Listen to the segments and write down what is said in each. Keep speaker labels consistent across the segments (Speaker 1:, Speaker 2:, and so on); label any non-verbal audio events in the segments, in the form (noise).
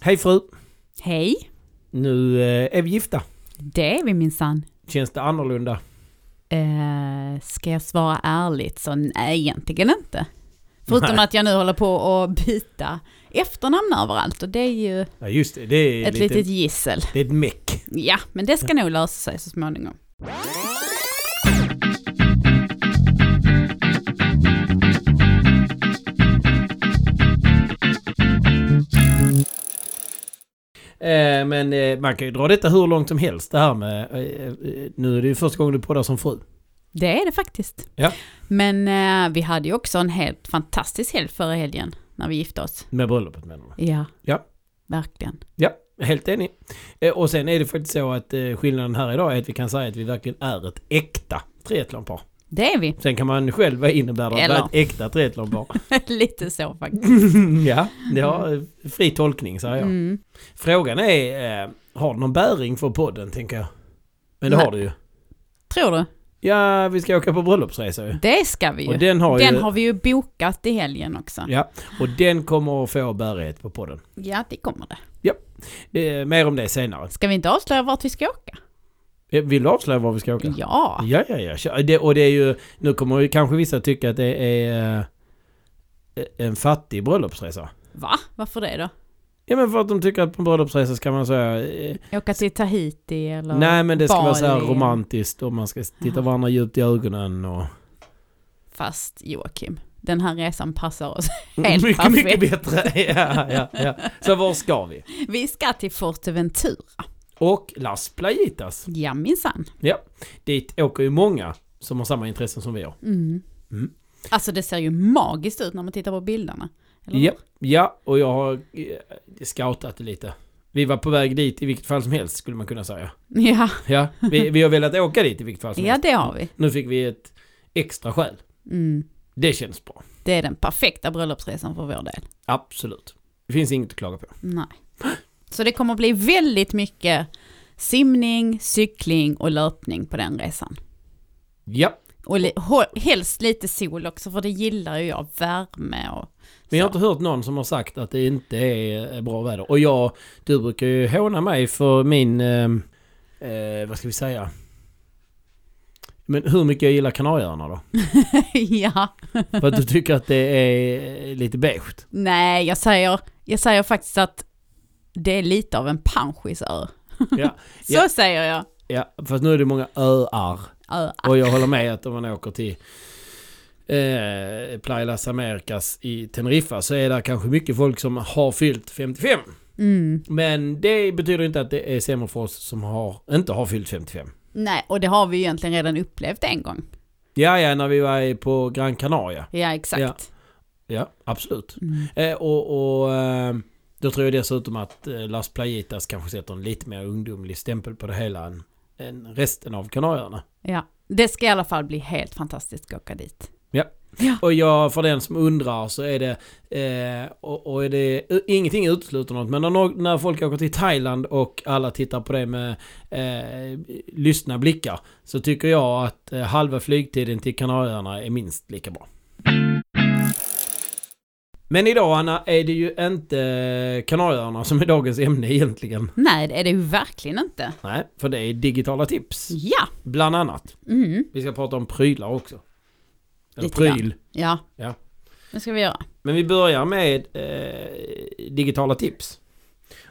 Speaker 1: Hej fru!
Speaker 2: Hej!
Speaker 1: Nu eh, är vi gifta.
Speaker 2: Det är vi minsann.
Speaker 1: Känns det annorlunda?
Speaker 2: Eh, ska jag svara ärligt så nej, egentligen inte. Förutom
Speaker 1: Nej.
Speaker 2: att jag nu håller på att byta efternamn överallt och det är ju
Speaker 1: Ja just det, det är
Speaker 2: ett
Speaker 1: lite,
Speaker 2: litet gissel.
Speaker 1: det är ett meck.
Speaker 2: Ja, men det ska nog lösa sig så småningom.
Speaker 1: Eh, men eh, man kan ju dra detta hur långt som helst det här med... Eh, eh, nu är det ju första gången du poddar som fru.
Speaker 2: Det är det faktiskt.
Speaker 1: Ja.
Speaker 2: Men eh, vi hade ju också en helt fantastisk helg förra helgen när vi gifte oss.
Speaker 1: Med bröllopet menar du?
Speaker 2: Ja,
Speaker 1: Ja.
Speaker 2: verkligen.
Speaker 1: Ja, helt enig. Eh, och sen är det faktiskt så att eh, skillnaden här idag är att vi kan säga att vi verkligen är ett äkta triathlonpar.
Speaker 2: Det är vi. (laughs)
Speaker 1: Sen kan man själv vad innebär det att vara
Speaker 2: Eller-
Speaker 1: ett äkta triathlonpar?
Speaker 2: (laughs) Lite så faktiskt.
Speaker 1: ja, ja, eh, fri tolkning säger jag.
Speaker 2: Mm.
Speaker 1: Frågan är, eh, har det någon bäring för podden tänker jag? Men det
Speaker 2: Nej.
Speaker 1: har det ju.
Speaker 2: Tror du?
Speaker 1: Ja, vi ska åka på bröllopsresa ju.
Speaker 2: Det ska vi ju.
Speaker 1: Och den har
Speaker 2: Den
Speaker 1: ju...
Speaker 2: har vi ju bokat i helgen också. Ja,
Speaker 1: Ja, och den kommer att få bärighet på podden.
Speaker 2: det kommer det.
Speaker 1: Eh, mer om det senare.
Speaker 2: Ska vi inte avslöja vart vi ska åka?
Speaker 1: Eh, Vill du avslöja var vi ska åka?
Speaker 2: Ja.
Speaker 1: Ja, ja, ja. kör. Det, och det är ju... Nu kommer ju kanske vissa tycka att det är eh, en fattig bröllopsresa.
Speaker 2: Va? Varför det då?
Speaker 1: Ja, men för att de tycker att på en bröllopsresa ska man säga... Eh,
Speaker 2: Åka till Tahiti eller?
Speaker 1: nej, men det ska vara så här
Speaker 2: Bali.
Speaker 1: romantiskt och man ska titta varandra djupt i ögonen och...
Speaker 2: Fast Joakim, den här resan passar oss. (laughs) (laughs) Helt
Speaker 1: mycket, mycket
Speaker 2: perfekt.
Speaker 1: bättre. (laughs) Ja, ja, ja. Så var ska vi?
Speaker 2: Vi ska till Forteventura.
Speaker 1: Och Las Playitas.
Speaker 2: Ja, minsann.
Speaker 1: Dit åker ju många som har samma intressen som vi har.
Speaker 2: Mm.
Speaker 1: Mm.
Speaker 2: Alltså det ser ju magiskt ut när man tittar på bilderna. Eller?
Speaker 1: Ja, ja, och jag har eh, scoutat det lite. Vi var på väg dit i vilket fall som helst skulle man kunna säga.
Speaker 2: Ja,
Speaker 1: Ja, vi, vi har velat åka dit i vilket fall som
Speaker 2: ja
Speaker 1: helst.
Speaker 2: det har vi.
Speaker 1: Nu fick vi ett extra skäl.
Speaker 2: Mm.
Speaker 1: Det känns bra.
Speaker 2: Det är den perfekta bröllopsresan för vår del.
Speaker 1: Absolut. Det finns inget att klaga på.
Speaker 2: Nej. Så det kommer bli väldigt mycket simning, cykling och löpning på den resan.
Speaker 1: Ja,
Speaker 2: Och li- hå- helst lite sol också för det gillar ju jag, värme och (laughs)
Speaker 1: men jag har
Speaker 2: så.
Speaker 1: inte hört någon som har sagt att det inte är bra väder. Och jag, du brukar ju håna mig för min, ehm, eh, vad ska vi säga? Men hur mycket jag gillar Kanarieöarna då?
Speaker 2: ja,
Speaker 1: För att du tycker att det är lite beige.
Speaker 2: nej jag säger, jag säger faktiskt att det är lite av en panschisö.
Speaker 1: Ja,
Speaker 2: (laughs) Så
Speaker 1: ja.
Speaker 2: säger jag.
Speaker 1: ja, fast nu är det många öar.
Speaker 2: Ö,
Speaker 1: Och jag håller med att om man åker till eh, Playa Las Americas i Teneriffa så är det kanske mycket folk som har fyllt 55.
Speaker 2: Mm.
Speaker 1: Men det betyder inte att det är sämre för oss som har, inte har fyllt 55.
Speaker 2: Nej, och det har vi ju egentligen redan upplevt en gång.
Speaker 1: Ja, ja, när vi var på Gran Canaria.
Speaker 2: Ja, exakt.
Speaker 1: Ja, absolut.
Speaker 2: Mm.
Speaker 1: Eh, och och eh, då tror jag dessutom att eh, Las Playitas kanske sätter en lite mer ungdomlig stämpel på det hela än, än resten av Kanarieöarna.
Speaker 2: Ja. Det ska i alla fall bli helt fantastiskt att åka dit.
Speaker 1: Och jag, för den som undrar så är det, eh, och, och är det ingenting utesluter något, men när, no- när folk åker till Thailand och alla tittar på det med eh, lyssna blickar så tycker jag att eh, halva flygtiden till Kanarieöarna är minst lika bra. Men idag Anna är det ju inte Kanarieöarna som är dagens ämne egentligen.
Speaker 2: Nej, det är det ju verkligen inte.
Speaker 1: Nej, för det är digitala tips.
Speaker 2: Ja.
Speaker 1: Bland annat.
Speaker 2: Mm.
Speaker 1: Vi ska prata om prylar också. Eller
Speaker 2: Lite grann.
Speaker 1: pryl.
Speaker 2: Ja.
Speaker 1: Ja.
Speaker 2: Det ska vi göra.
Speaker 1: Men vi börjar med eh, digitala tips.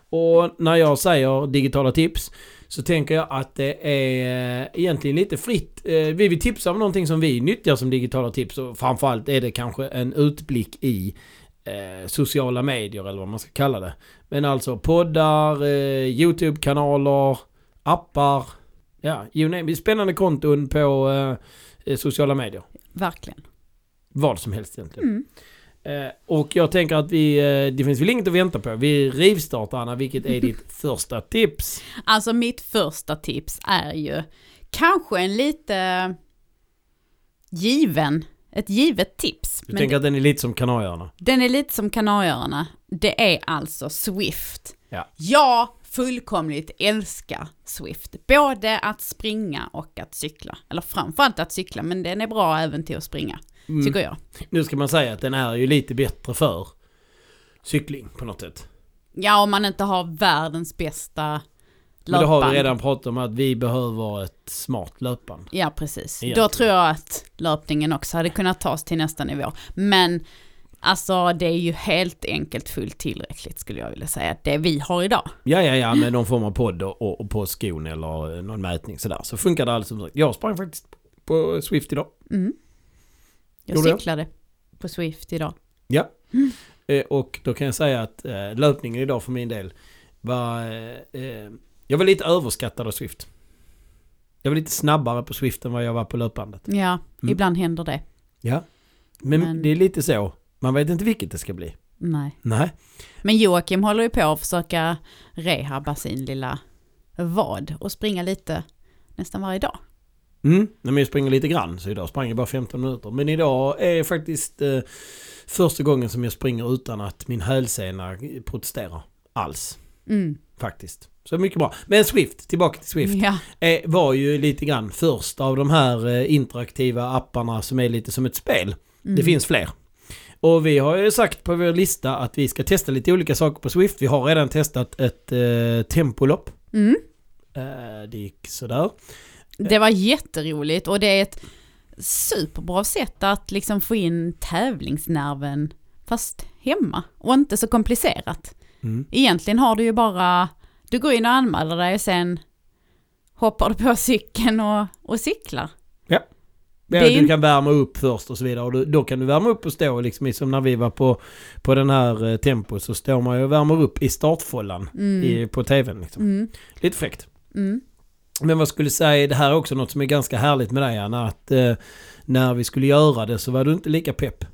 Speaker 1: Och när jag säger digitala tips så tänker jag att det är eh, egentligen lite fritt. Eh, vi vill tipsa om någonting som vi nyttjar som digitala tips och framförallt är det kanske en utblick i eh, sociala medier eller vad man ska kalla det. Men alltså poddar, eh, YouTube-kanaler, appar, ja, you name it. Spännande konton på eh, sociala medier.
Speaker 2: Verkligen.
Speaker 1: Vad som helst egentligen.
Speaker 2: Mm.
Speaker 1: Eh, och jag tänker att vi, eh, det finns väl inget att vänta på. Vi rivstartar Anna, vilket
Speaker 2: (laughs)
Speaker 1: är ditt första tips?
Speaker 2: Alltså mitt första tips är ju kanske en lite given, ett givet tips.
Speaker 1: Du
Speaker 2: Men
Speaker 1: tänker att den är lite som Kanarieöarna?
Speaker 2: den är lite som Kanarieöarna. Det är alltså Swift.
Speaker 1: Ja.
Speaker 2: Jag fullkomligt älskar Swift. Både att springa och att cykla. Eller framförallt att cykla, men den är bra även till att springa,
Speaker 1: Mm.
Speaker 2: tycker jag.
Speaker 1: Nu ska man säga att den är ju lite bättre för cykling på något sätt.
Speaker 2: Ja, om man inte har världens bästa
Speaker 1: Men
Speaker 2: löpband.
Speaker 1: då har vi redan pratat om att vi behöver ett smart löpband.
Speaker 2: Ja, precis.
Speaker 1: Egentligen.
Speaker 2: Då tror jag att löpningen också hade kunnat tas till nästa nivå. Men alltså, det är ju helt enkelt fullt tillräckligt skulle jag vilja säga. Det vi har idag.
Speaker 1: Ja, ja, ja, med någon form av podd och, och på skon eller eh, någon mätning sådär. Så funkar det alls. som sagt. Jag sprang faktiskt på Swift idag.
Speaker 2: Mm. Jag
Speaker 1: Gjorde jag?
Speaker 2: cyklade på Swift idag.
Speaker 1: Ja. Eh, och då kan jag säga att eh, löpningen idag för min del var... Eh, eh, jag var lite överskattad av Swift. Jag var lite snabbare på Swift än vad jag var på löpbandet.
Speaker 2: Ja,
Speaker 1: Mm.
Speaker 2: ibland händer det.
Speaker 1: Ja. Men,
Speaker 2: Men-
Speaker 1: det är lite så. Man vet inte vilket det ska bli.
Speaker 2: Nej.
Speaker 1: Nej.
Speaker 2: Men Joakim håller ju på att försöka rehabba sin lilla vad och springa lite nästan varje dag.
Speaker 1: Mm. Nej, men jag springer lite grann så idag sprang jag bara 15 minuter. Men idag är faktiskt eh, första gången som jag springer utan att min hälsena protesterar alls.
Speaker 2: Mm.
Speaker 1: Faktiskt. Så mycket bra. Men Swift, tillbaka till Swift.
Speaker 2: Ja,
Speaker 1: eh, var ju lite grann först av de här eh, interaktiva apparna som är lite som ett spel.
Speaker 2: Mm.
Speaker 1: Det finns fler. Och vi har ju sagt på vår lista att vi ska testa lite olika saker på Swift. Vi har redan testat ett eh, tempolopp.
Speaker 2: Mm.
Speaker 1: Eh, det gick sådär.
Speaker 2: Det var jätteroligt och det är ett superbra sätt att liksom få in tävlingsnerven fast hemma och inte så komplicerat.
Speaker 1: Mm.
Speaker 2: Egentligen har du ju bara, du går in och anmäler dig och sen hoppar du på cykeln och, och cyklar.
Speaker 1: Ja,
Speaker 2: Det är
Speaker 1: du
Speaker 2: ju-
Speaker 1: kan värma upp först och så vidare. Och du, då kan du värma upp och stå liksom i- som när vi var på, på den här eh, tempot så står man ju och värmer upp i startfållan
Speaker 2: Mm.
Speaker 1: i, på tvn. Liksom.
Speaker 2: Mm.
Speaker 1: Lite fräckt.
Speaker 2: Mm.
Speaker 1: Men vad skulle säga, det här är också något som är ganska härligt med dig Anna, att eh, när vi skulle göra det så var du inte lika pepp.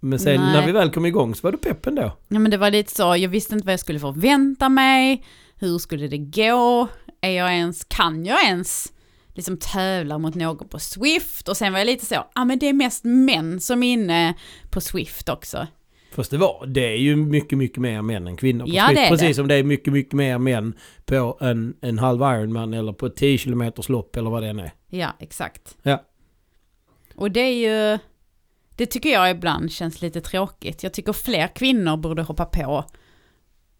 Speaker 1: Men sen
Speaker 2: Nej.
Speaker 1: när vi väl kom igång så var du pepp ändå.
Speaker 2: Ja men det var lite så, jag visste inte vad jag skulle förvänta mig, hur skulle det gå, är jag ens, kan jag ens liksom tävla mot någon på Swift? Och sen var jag lite så, ja ah, men det är mest män som är inne på Swift också.
Speaker 1: Fast det var, det är ju mycket, mycket mer män än kvinnor. på
Speaker 2: Ja,
Speaker 1: Swift.
Speaker 2: det är
Speaker 1: Precis
Speaker 2: det.
Speaker 1: som det är mycket, mycket mer män på en, en halv Ironman eller på ett 10 km lopp eller vad det än är.
Speaker 2: Ja, exakt.
Speaker 1: Ja.
Speaker 2: Och det är ju, det tycker jag ibland känns lite tråkigt. Jag tycker fler kvinnor borde hoppa på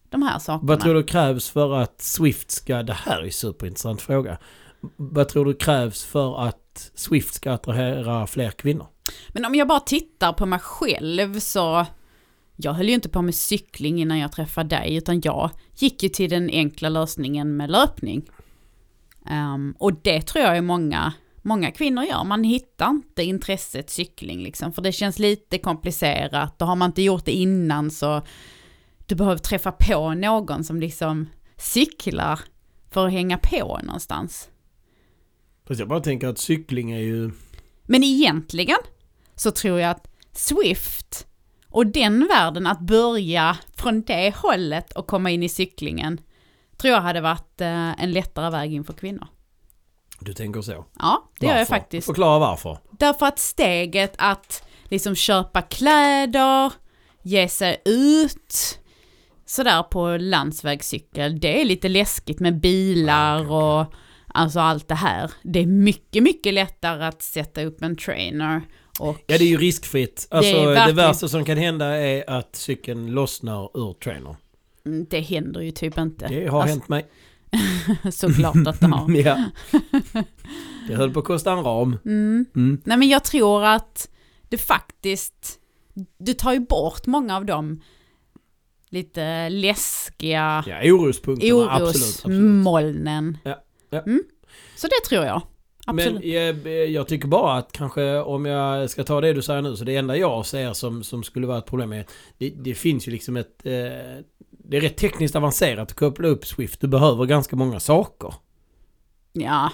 Speaker 2: de här sakerna.
Speaker 1: Vad tror du krävs för att Swift ska, det här är ju superintressant fråga. Vad tror du krävs för att Swift ska attrahera fler kvinnor?
Speaker 2: Men om jag bara tittar på mig själv så, jag höll ju inte på med cykling innan jag träffade dig, utan jag gick ju till den enkla lösningen med löpning. Ehm, och det tror jag är många, många kvinnor gör, man hittar inte intresset cykling liksom, för det känns lite komplicerat och har man inte gjort det innan så du behöver träffa på någon som liksom cyklar för att hänga på någonstans.
Speaker 1: Fast jag bara tänker att cykling är ju...
Speaker 2: Men egentligen så tror jag att Swift och den världen, att börja från det hållet och komma in i cyklingen, tror jag hade varit eh, en lättare väg in för kvinnor.
Speaker 1: Du tänker så?
Speaker 2: Ja, det gör jag
Speaker 1: Varför?
Speaker 2: faktiskt.
Speaker 1: Förklara varför.
Speaker 2: Därför att steget att liksom köpa kläder, ge sig ut, sådär på landsvägscykel, det är lite läskigt med
Speaker 1: Ah, okej,
Speaker 2: bilar
Speaker 1: okej.
Speaker 2: och alltså allt det här. Det är mycket, mycket lättare att sätta upp en trainer och
Speaker 1: Ja det är ju riskfritt. Alltså, det,
Speaker 2: verkligen-
Speaker 1: värsta som kan hända är att cykeln lossnar ur trainer.
Speaker 2: Mm, Det händer ju typ inte.
Speaker 1: Det har hänt mig. (laughs)
Speaker 2: Alltså, (laughs) såklart att det har.
Speaker 1: Ja. Det höll på att kosta en ram.
Speaker 2: Mm.
Speaker 1: Mm.
Speaker 2: Nej men jag tror att du faktiskt, du tar ju bort många av de lite läskiga
Speaker 1: Ja orospunkterna, absolut.
Speaker 2: Mm,
Speaker 1: absolut.
Speaker 2: orosmolnen.
Speaker 1: Ja, ja.
Speaker 2: Mm. Så det tror jag. Absolut.
Speaker 1: Men jag, jag tycker bara att kanske om jag ska ta det du säger nu så det enda jag ser som, som skulle vara ett problem är det, det finns ju liksom ett eh, det är rätt tekniskt avancerat att koppla upp Swift. Du behöver ganska många saker.
Speaker 2: Ja.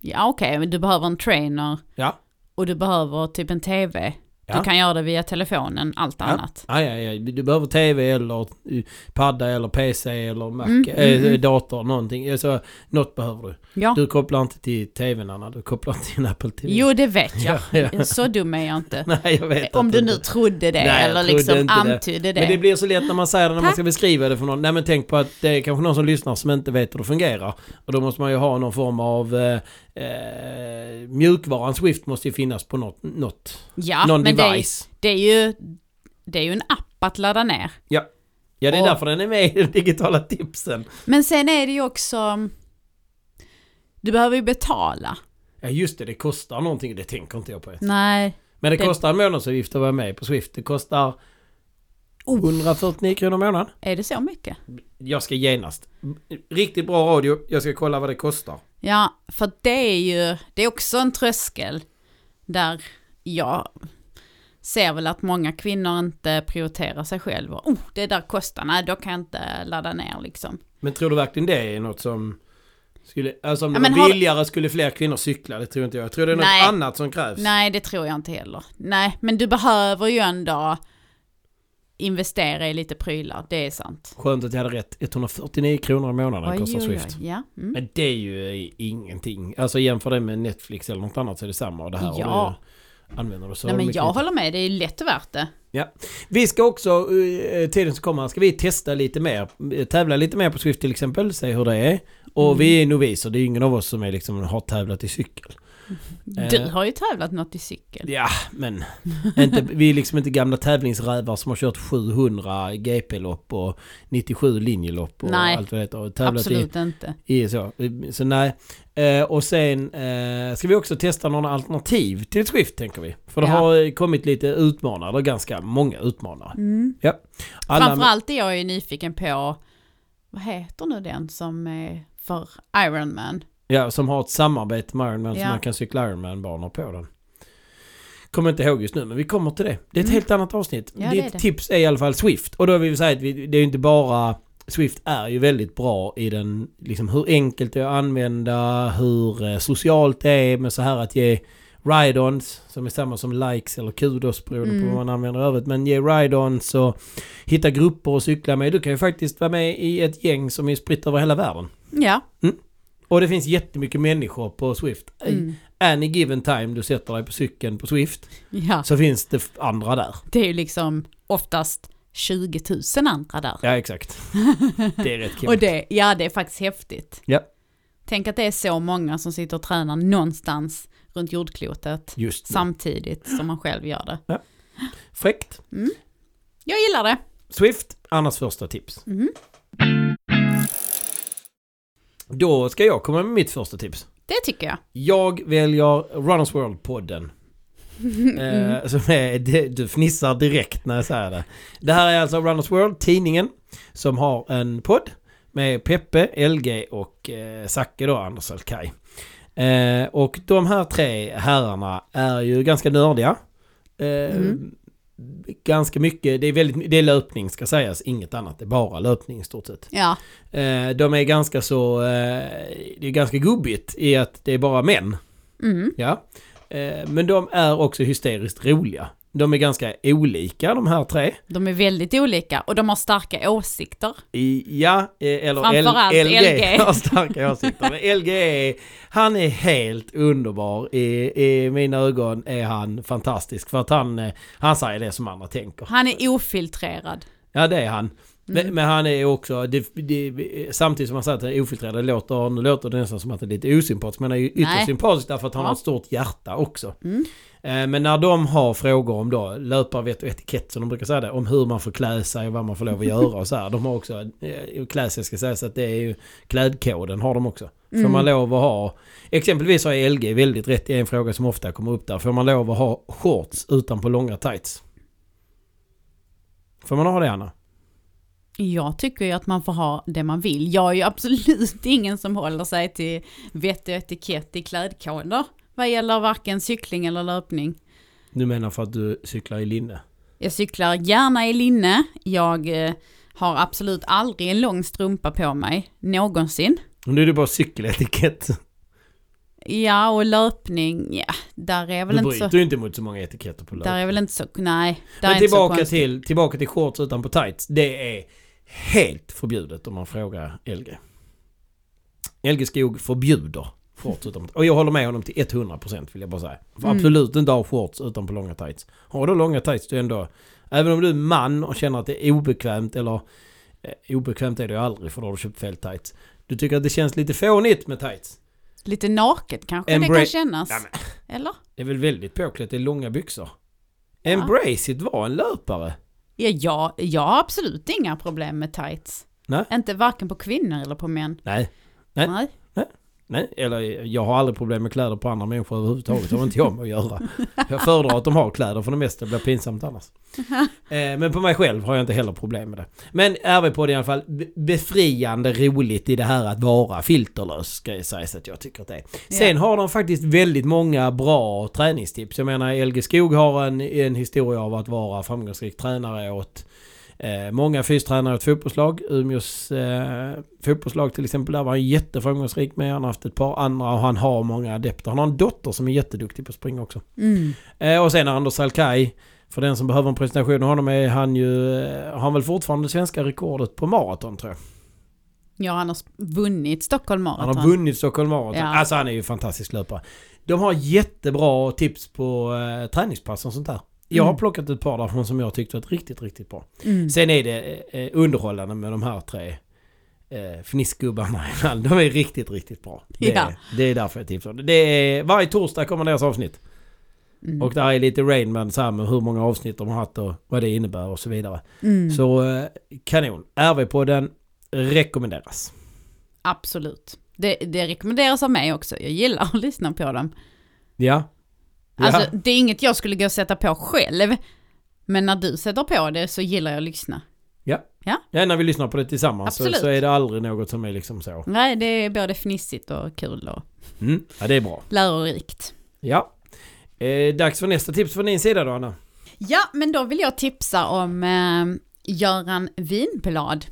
Speaker 2: Ja okej, men du behöver en trainer.
Speaker 1: Ja.
Speaker 2: Och du behöver typ en tv.
Speaker 1: Ja.
Speaker 2: Du kan göra det via telefonen, allt
Speaker 1: Ja.
Speaker 2: annat.
Speaker 1: Ja, ja, ja. Du behöver tv eller eh, padda eller PC eller Mac,
Speaker 2: Mm,
Speaker 1: eh,
Speaker 2: mm, mm.
Speaker 1: dator, någonting. Alltså, något behöver du.
Speaker 2: Ja.
Speaker 1: Du kopplar inte till tvn Anna, du kopplar till en Apple TV. (laughs)
Speaker 2: Jo, det vet jag.
Speaker 1: Ja, ja.
Speaker 2: Så dum är jag inte.
Speaker 1: (laughs) Nej, jag vet
Speaker 2: Om
Speaker 1: att
Speaker 2: du nu
Speaker 1: inte-
Speaker 2: trodde det
Speaker 1: Nej, jag
Speaker 2: eller
Speaker 1: trodde
Speaker 2: liksom
Speaker 1: inte det.
Speaker 2: antydde det.
Speaker 1: Men det blir så lätt när man säger det när man ska beskriva det för någon. Nej men tänk på att det är kanske någon som lyssnar som inte vet hur det fungerar. Och då måste man ju ha någon form av eh, eh, mjukvaran Swift måste ju finnas på något, något
Speaker 2: ja,
Speaker 1: någon
Speaker 2: men det, är-
Speaker 1: device.
Speaker 2: det, är ju, det är ju en app att ladda ner.
Speaker 1: Ja. Ja, det är
Speaker 2: Och-
Speaker 1: därför den är med i de digitala tipsen.
Speaker 2: Men sen är det ju också... Du behöver ju betala.
Speaker 1: Ja, just det. Det kostar någonting. Det tänker inte jag på.
Speaker 2: Nej.
Speaker 1: Men det,
Speaker 2: Det-
Speaker 1: kostar en månadsavgift att vara med på Swift. Det kostar
Speaker 2: Oh.
Speaker 1: 149 kronor i månaden.
Speaker 2: Är det så mycket?
Speaker 1: Jag ska genast. Riktigt bra radio. Jag ska kolla vad det kostar.
Speaker 2: Ja, för det är ju... Det är också en tröskel där jag ser väl att många kvinnor inte prioriterar sig själva. Oh, det där kostar. Nej, då kan jag inte ladda ner liksom.
Speaker 1: Men tror du verkligen det är något som... Skulle, alltså om
Speaker 2: Ja,
Speaker 1: det
Speaker 2: men
Speaker 1: var
Speaker 2: har-
Speaker 1: billigare skulle fler kvinnor cykla. Det tror inte jag. Jag tror det är något
Speaker 2: Nej.
Speaker 1: annat som krävs.
Speaker 2: Nej, det tror jag inte heller. Nej, men du behöver ju ändå investera i lite prylar, det är sant.
Speaker 1: Skönt att jag hade rätt. 149 kronor i månaden kostar Swift.
Speaker 2: Ja, mm.
Speaker 1: Men det är ju ingenting. Alltså jämför det med Netflix eller något annat så är det samma. Och det här
Speaker 2: Ja.
Speaker 1: och du använder det så
Speaker 2: Nej, men
Speaker 1: mycket.
Speaker 2: jag håller med, det är lätt värt det.
Speaker 1: Vi ska också, eh, tiden som kommer, ska vi testa lite mer. eh, Tävla lite mer på Swift till exempel. Se hur det är. Och
Speaker 2: Mm.
Speaker 1: vi är noviser. Det är ingen av oss som är liksom, har tävlat i cykel.
Speaker 2: Du
Speaker 1: Eh.
Speaker 2: har ju tävlat något i cykel.
Speaker 1: Ja, men (laughs) inte, vi är liksom inte gamla tävlingsrävar som har kört 700 GP-lopp och 97 linjelopp och
Speaker 2: Nej,
Speaker 1: allt vad det heter. Och tävlat i
Speaker 2: Absolut inte.
Speaker 1: I så. Så nej. Eh, och sen eh, ska vi också testa några alternativ till Swift tänker vi. För det
Speaker 2: Ja.
Speaker 1: har eh, kommit lite utmanare, eller ganska många utmanare.
Speaker 2: Mm.
Speaker 1: Alla,
Speaker 2: Framförallt är jag ju nyfiken på, vad heter nu den som är för Ironman?
Speaker 1: ja, som har ett samarbete med Ironman så
Speaker 2: Ja.
Speaker 1: man kan cykla Ironman-banor på den. Kommer inte ihåg just nu men vi kommer till det. Det är ett
Speaker 2: Mm.
Speaker 1: helt annat avsnitt.
Speaker 2: Ja, det
Speaker 1: Ditt
Speaker 2: är det.
Speaker 1: tips är i alla fall Swift. Och då vill vi säga att vi, det är ju inte bara Swift är ju väldigt bra i den, liksom hur enkelt det är att använda, hur eh, socialt det är med så här att ge ride-ons som är samma som likes eller kudos beroende på
Speaker 2: Mm.
Speaker 1: vad man använder i övrigt. Men ge ride-ons och hitta grupper att cykla med. Du kan ju faktiskt vara med i ett gäng som är spritt över hela världen.
Speaker 2: Ja.
Speaker 1: Och det finns jättemycket människor på Swift. Mm.
Speaker 2: Mm.
Speaker 1: Any given time du sätter dig på cykeln på Swift
Speaker 2: Ja,
Speaker 1: så finns det f- andra där.
Speaker 2: det är ju liksom oftast 20 000 andra där.
Speaker 1: Ja exakt. Det är
Speaker 2: (laughs)
Speaker 1: rätt kul.
Speaker 2: Och det, ja det är faktiskt häftigt.
Speaker 1: Ja.
Speaker 2: Tänk att det är så många som sitter och tränar någonstans runt jordklotet
Speaker 1: Just nu.
Speaker 2: samtidigt som man själv gör det.
Speaker 1: Fräckt.
Speaker 2: Jag gillar det.
Speaker 1: Swift, Annas första tips.
Speaker 2: Mhm.
Speaker 1: Då ska jag komma med mitt första tips.
Speaker 2: Det tycker jag.
Speaker 1: Jag väljer Runners World-podden. (laughs)
Speaker 2: Mhm.
Speaker 1: Eh, som är, det- du fnissar direkt när jag säger det. Det här är alltså Runners World, tidningen, som har en podd med Peppe, LG och eh, Zacke då, Anders Alkaj. Eh, och de här tre herrarna är ju ganska nördiga. Eh,
Speaker 2: Mm.
Speaker 1: Ganska mycket, det är, väldigt, det är löpning ska sägas, inget annat, det är bara löpning i stort sett.
Speaker 2: Ja,
Speaker 1: Eh, de är ganska så, eh, det är ganska gubbigt i att det är bara män.
Speaker 2: mm.
Speaker 1: Ja. Eh, Men de är också hysteriskt roliga. De är ganska olika de här tre.
Speaker 2: de är väldigt olika och de har starka åsikter.
Speaker 1: I, ja, eh, eller
Speaker 2: Framförallt
Speaker 1: L, LG, (laughs)
Speaker 2: LG.
Speaker 1: har starka åsikter. Men LG är, han är helt underbar. I, I mina ögon är han fantastisk. För att han, eh, han säger det som andra tänker.
Speaker 2: Han är ofiltrerad.
Speaker 1: Ja det är han.
Speaker 2: Mm.
Speaker 1: Men, men han är också, det, det, samtidigt som han säger att han är ofiltrerad, det låter, nu låter det nästan som att det är lite osympatiskt. Men han är ju ytterst
Speaker 2: Nej.
Speaker 1: sympatisk därför att han
Speaker 2: Ja.
Speaker 1: har ett stort hjärta också.
Speaker 2: Mm.
Speaker 1: Eh, Men när de har frågor om då löparvett och etikett som de brukar säga det, om hur man får klä sig och vad man får lov att göra och så här. De har också, eh, klä sig ska sägas att det är ju klädkoden har de också. Får
Speaker 2: Mm.
Speaker 1: man lov att ha, exempelvis har LG väldigt rätt i en fråga som ofta kommer upp där. Får man lov att ha shorts utan på långa tights? Får man ha det Anna?
Speaker 2: Jag tycker ju att man får ha det man vill. Jag är ju absolut (laughs) ingen som håller sig till vett och etikett i klädkoder vad gäller varken cykling eller löpning.
Speaker 1: Du menar för att du cyklar i linne?
Speaker 2: Jag cyklar gärna i linne. Jag eh, har absolut aldrig en lång strumpa på mig, någonsin.
Speaker 1: Och nu är det bara
Speaker 2: (laughs)
Speaker 1: cykeletikett.
Speaker 2: Ja, och löpning, ja, där är väl
Speaker 1: Du
Speaker 2: inte så...
Speaker 1: bryter ju inte mot så många etiketter på löp.
Speaker 2: Där är väl inte så... Nej, där är
Speaker 1: Men
Speaker 2: inte så
Speaker 1: tillbaka
Speaker 2: konstigt.
Speaker 1: till, tillbaka till shorts utan på tights. Det är helt förbjudet om man frågar LG. LG Skog förbjuder shorts utan på Och jag håller med honom till 100% vill jag bara säga. Får
Speaker 2: Mm.
Speaker 1: Absolut inte ha shorts utan på långa tights. Har du långa tights du är ändå... Även om du är man och känner att det är obekvämt eller... Eh, obekvämt är det ju aldrig för då har du köpt fel tights. Du tycker att det känns lite fånigt med tights.
Speaker 2: Lite naket kanske det
Speaker 1: Embrace-
Speaker 2: kan kännas.
Speaker 1: Ja,
Speaker 2: Eller?
Speaker 1: Det är väl väldigt påklätt i långa byxor. Embrace it var en löpare.
Speaker 2: Ja, jag, jag har absolut inga problem med tights.
Speaker 1: Nej.
Speaker 2: Inte varken på kvinnor eller på män.
Speaker 1: Nej. Nej.
Speaker 2: Nej.
Speaker 1: Nej, eller jag har aldrig problem med kläder på andra människor överhuvudtaget. Det har inte jag med att göra. Jag föredrar att de har kläder för det mesta. Det blir pinsamt annars. Eh, men på mig själv har jag inte heller problem med det. Men RV-podden i alla fall. be- Befriande roligt i det här att vara filterlös. Ska jag säga så att jag tycker att det är. Sen har de faktiskt väldigt många bra träningstips. Jag menar LG Skog har en, en historia av att vara framgångsrik tränare åt Eh, många fystränare åt fotbollslag. Umeås eh, fotbollslag till exempel, där var han jätteframgångsrik med. Han har haft ett par andra och han har många adepter. Han har en dotter som är jätteduktig på att springa också.
Speaker 2: Mm.
Speaker 1: Eh, och sen Anders Alkaj. För den som behöver en presentation av honom är han ju... eh, Har han väl fortfarande det svenska rekordet på maraton tror jag.
Speaker 2: Ja, han har sp- vunnit Stockholm Marathon.
Speaker 1: Han har vunnit Stockholm Marathon.
Speaker 2: Ja.
Speaker 1: Alltså han är ju en fantastisk löpare. De har jättebra tips på eh, träningspass och sånt där. Jag har
Speaker 2: Mm.
Speaker 1: plockat ett par därifrån som jag tyckte var riktigt, riktigt bra.
Speaker 2: Mm.
Speaker 1: Sen är det eh, underhållande med de här tre eh, fnissgubbarna ibland. De är riktigt, riktigt bra. Det, är-
Speaker 2: Ja.
Speaker 1: det är därför jag tipsar om det. det är, varje torsdag kommer deras avsnitt.
Speaker 2: Mm.
Speaker 1: Och där är lite Rainman så här med hur många avsnitt de har haft och vad det innebär och så vidare.
Speaker 2: Mm.
Speaker 1: Så eh, kanon. RV-podden rekommenderas.
Speaker 2: Absolut. Det, det rekommenderas av mig också. Jag gillar att (laughs) lyssna på dem.
Speaker 1: Ja. ja.
Speaker 2: Alltså, det är inget jag skulle gå och sätta på själv. Men när du sätter på det så gillar jag att lyssna.
Speaker 1: ja, när vi lyssnar på det tillsammans så,
Speaker 2: Absolut.
Speaker 1: så är det aldrig något som är liksom så.
Speaker 2: Nej, det är både fnissigt och kul och
Speaker 1: Mm. Ja, det är bra.
Speaker 2: lärorikt.
Speaker 1: Ja. Eh, dags för nästa tips från din sida då, Anna.
Speaker 2: Ja, men då vill jag tipsa om eh, Göran Winblad.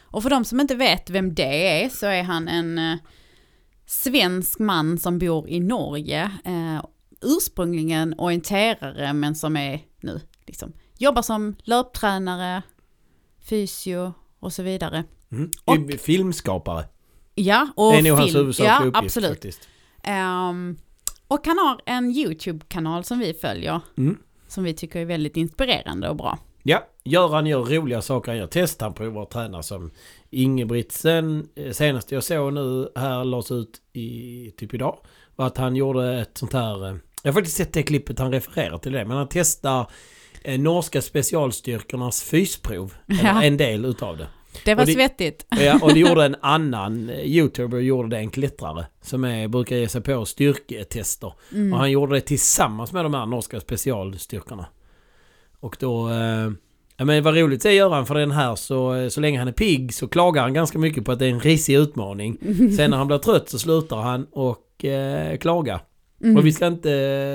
Speaker 2: Och för de som inte vet vem det är så är han en eh, svensk man som bor i Norge. Eh, ursprungligen orienterare men som är nu liksom jobbar som löptränare, fysio och så vidare.
Speaker 1: Mm.
Speaker 2: Och-
Speaker 1: Filmskapare.
Speaker 2: Ja, och
Speaker 1: det är nog hans
Speaker 2: film.
Speaker 1: huvudsakliga
Speaker 2: ja,
Speaker 1: uppgift
Speaker 2: absolut.
Speaker 1: faktiskt.
Speaker 2: Ehm, och han har en YouTube-kanal som vi följer.
Speaker 1: Mm.
Speaker 2: Som vi tycker är väldigt inspirerande och bra.
Speaker 1: Ja, Göran gör roliga saker. Han gör test, han provar att träna som Ingebrigtsen. Eh, Senaste jag såg nu här lades ut i typ idag. Var att han gjorde ett sånt här... eh, Jag har faktiskt sett det klippet han refererar till det. Men han testar eh, norska specialstyrkornas fysprov.
Speaker 2: Ja.
Speaker 1: Eller en del utav det.
Speaker 2: Det var
Speaker 1: Och det-
Speaker 2: svettigt.
Speaker 1: Ja, och det gjorde en annan eh, youtuber, gjorde det en klättrare. Som är, brukar ge sig på styrketester. Och han gjorde det tillsammans med de här norska specialstyrkorna. Och då... Eh, ja, men vad roligt säger Göran för den här så, eh, så länge han är pigg så klagar han ganska mycket på att det är en risig utmaning. Sen när han blir trött så slutar han och eh, klaga. Och vi ska inte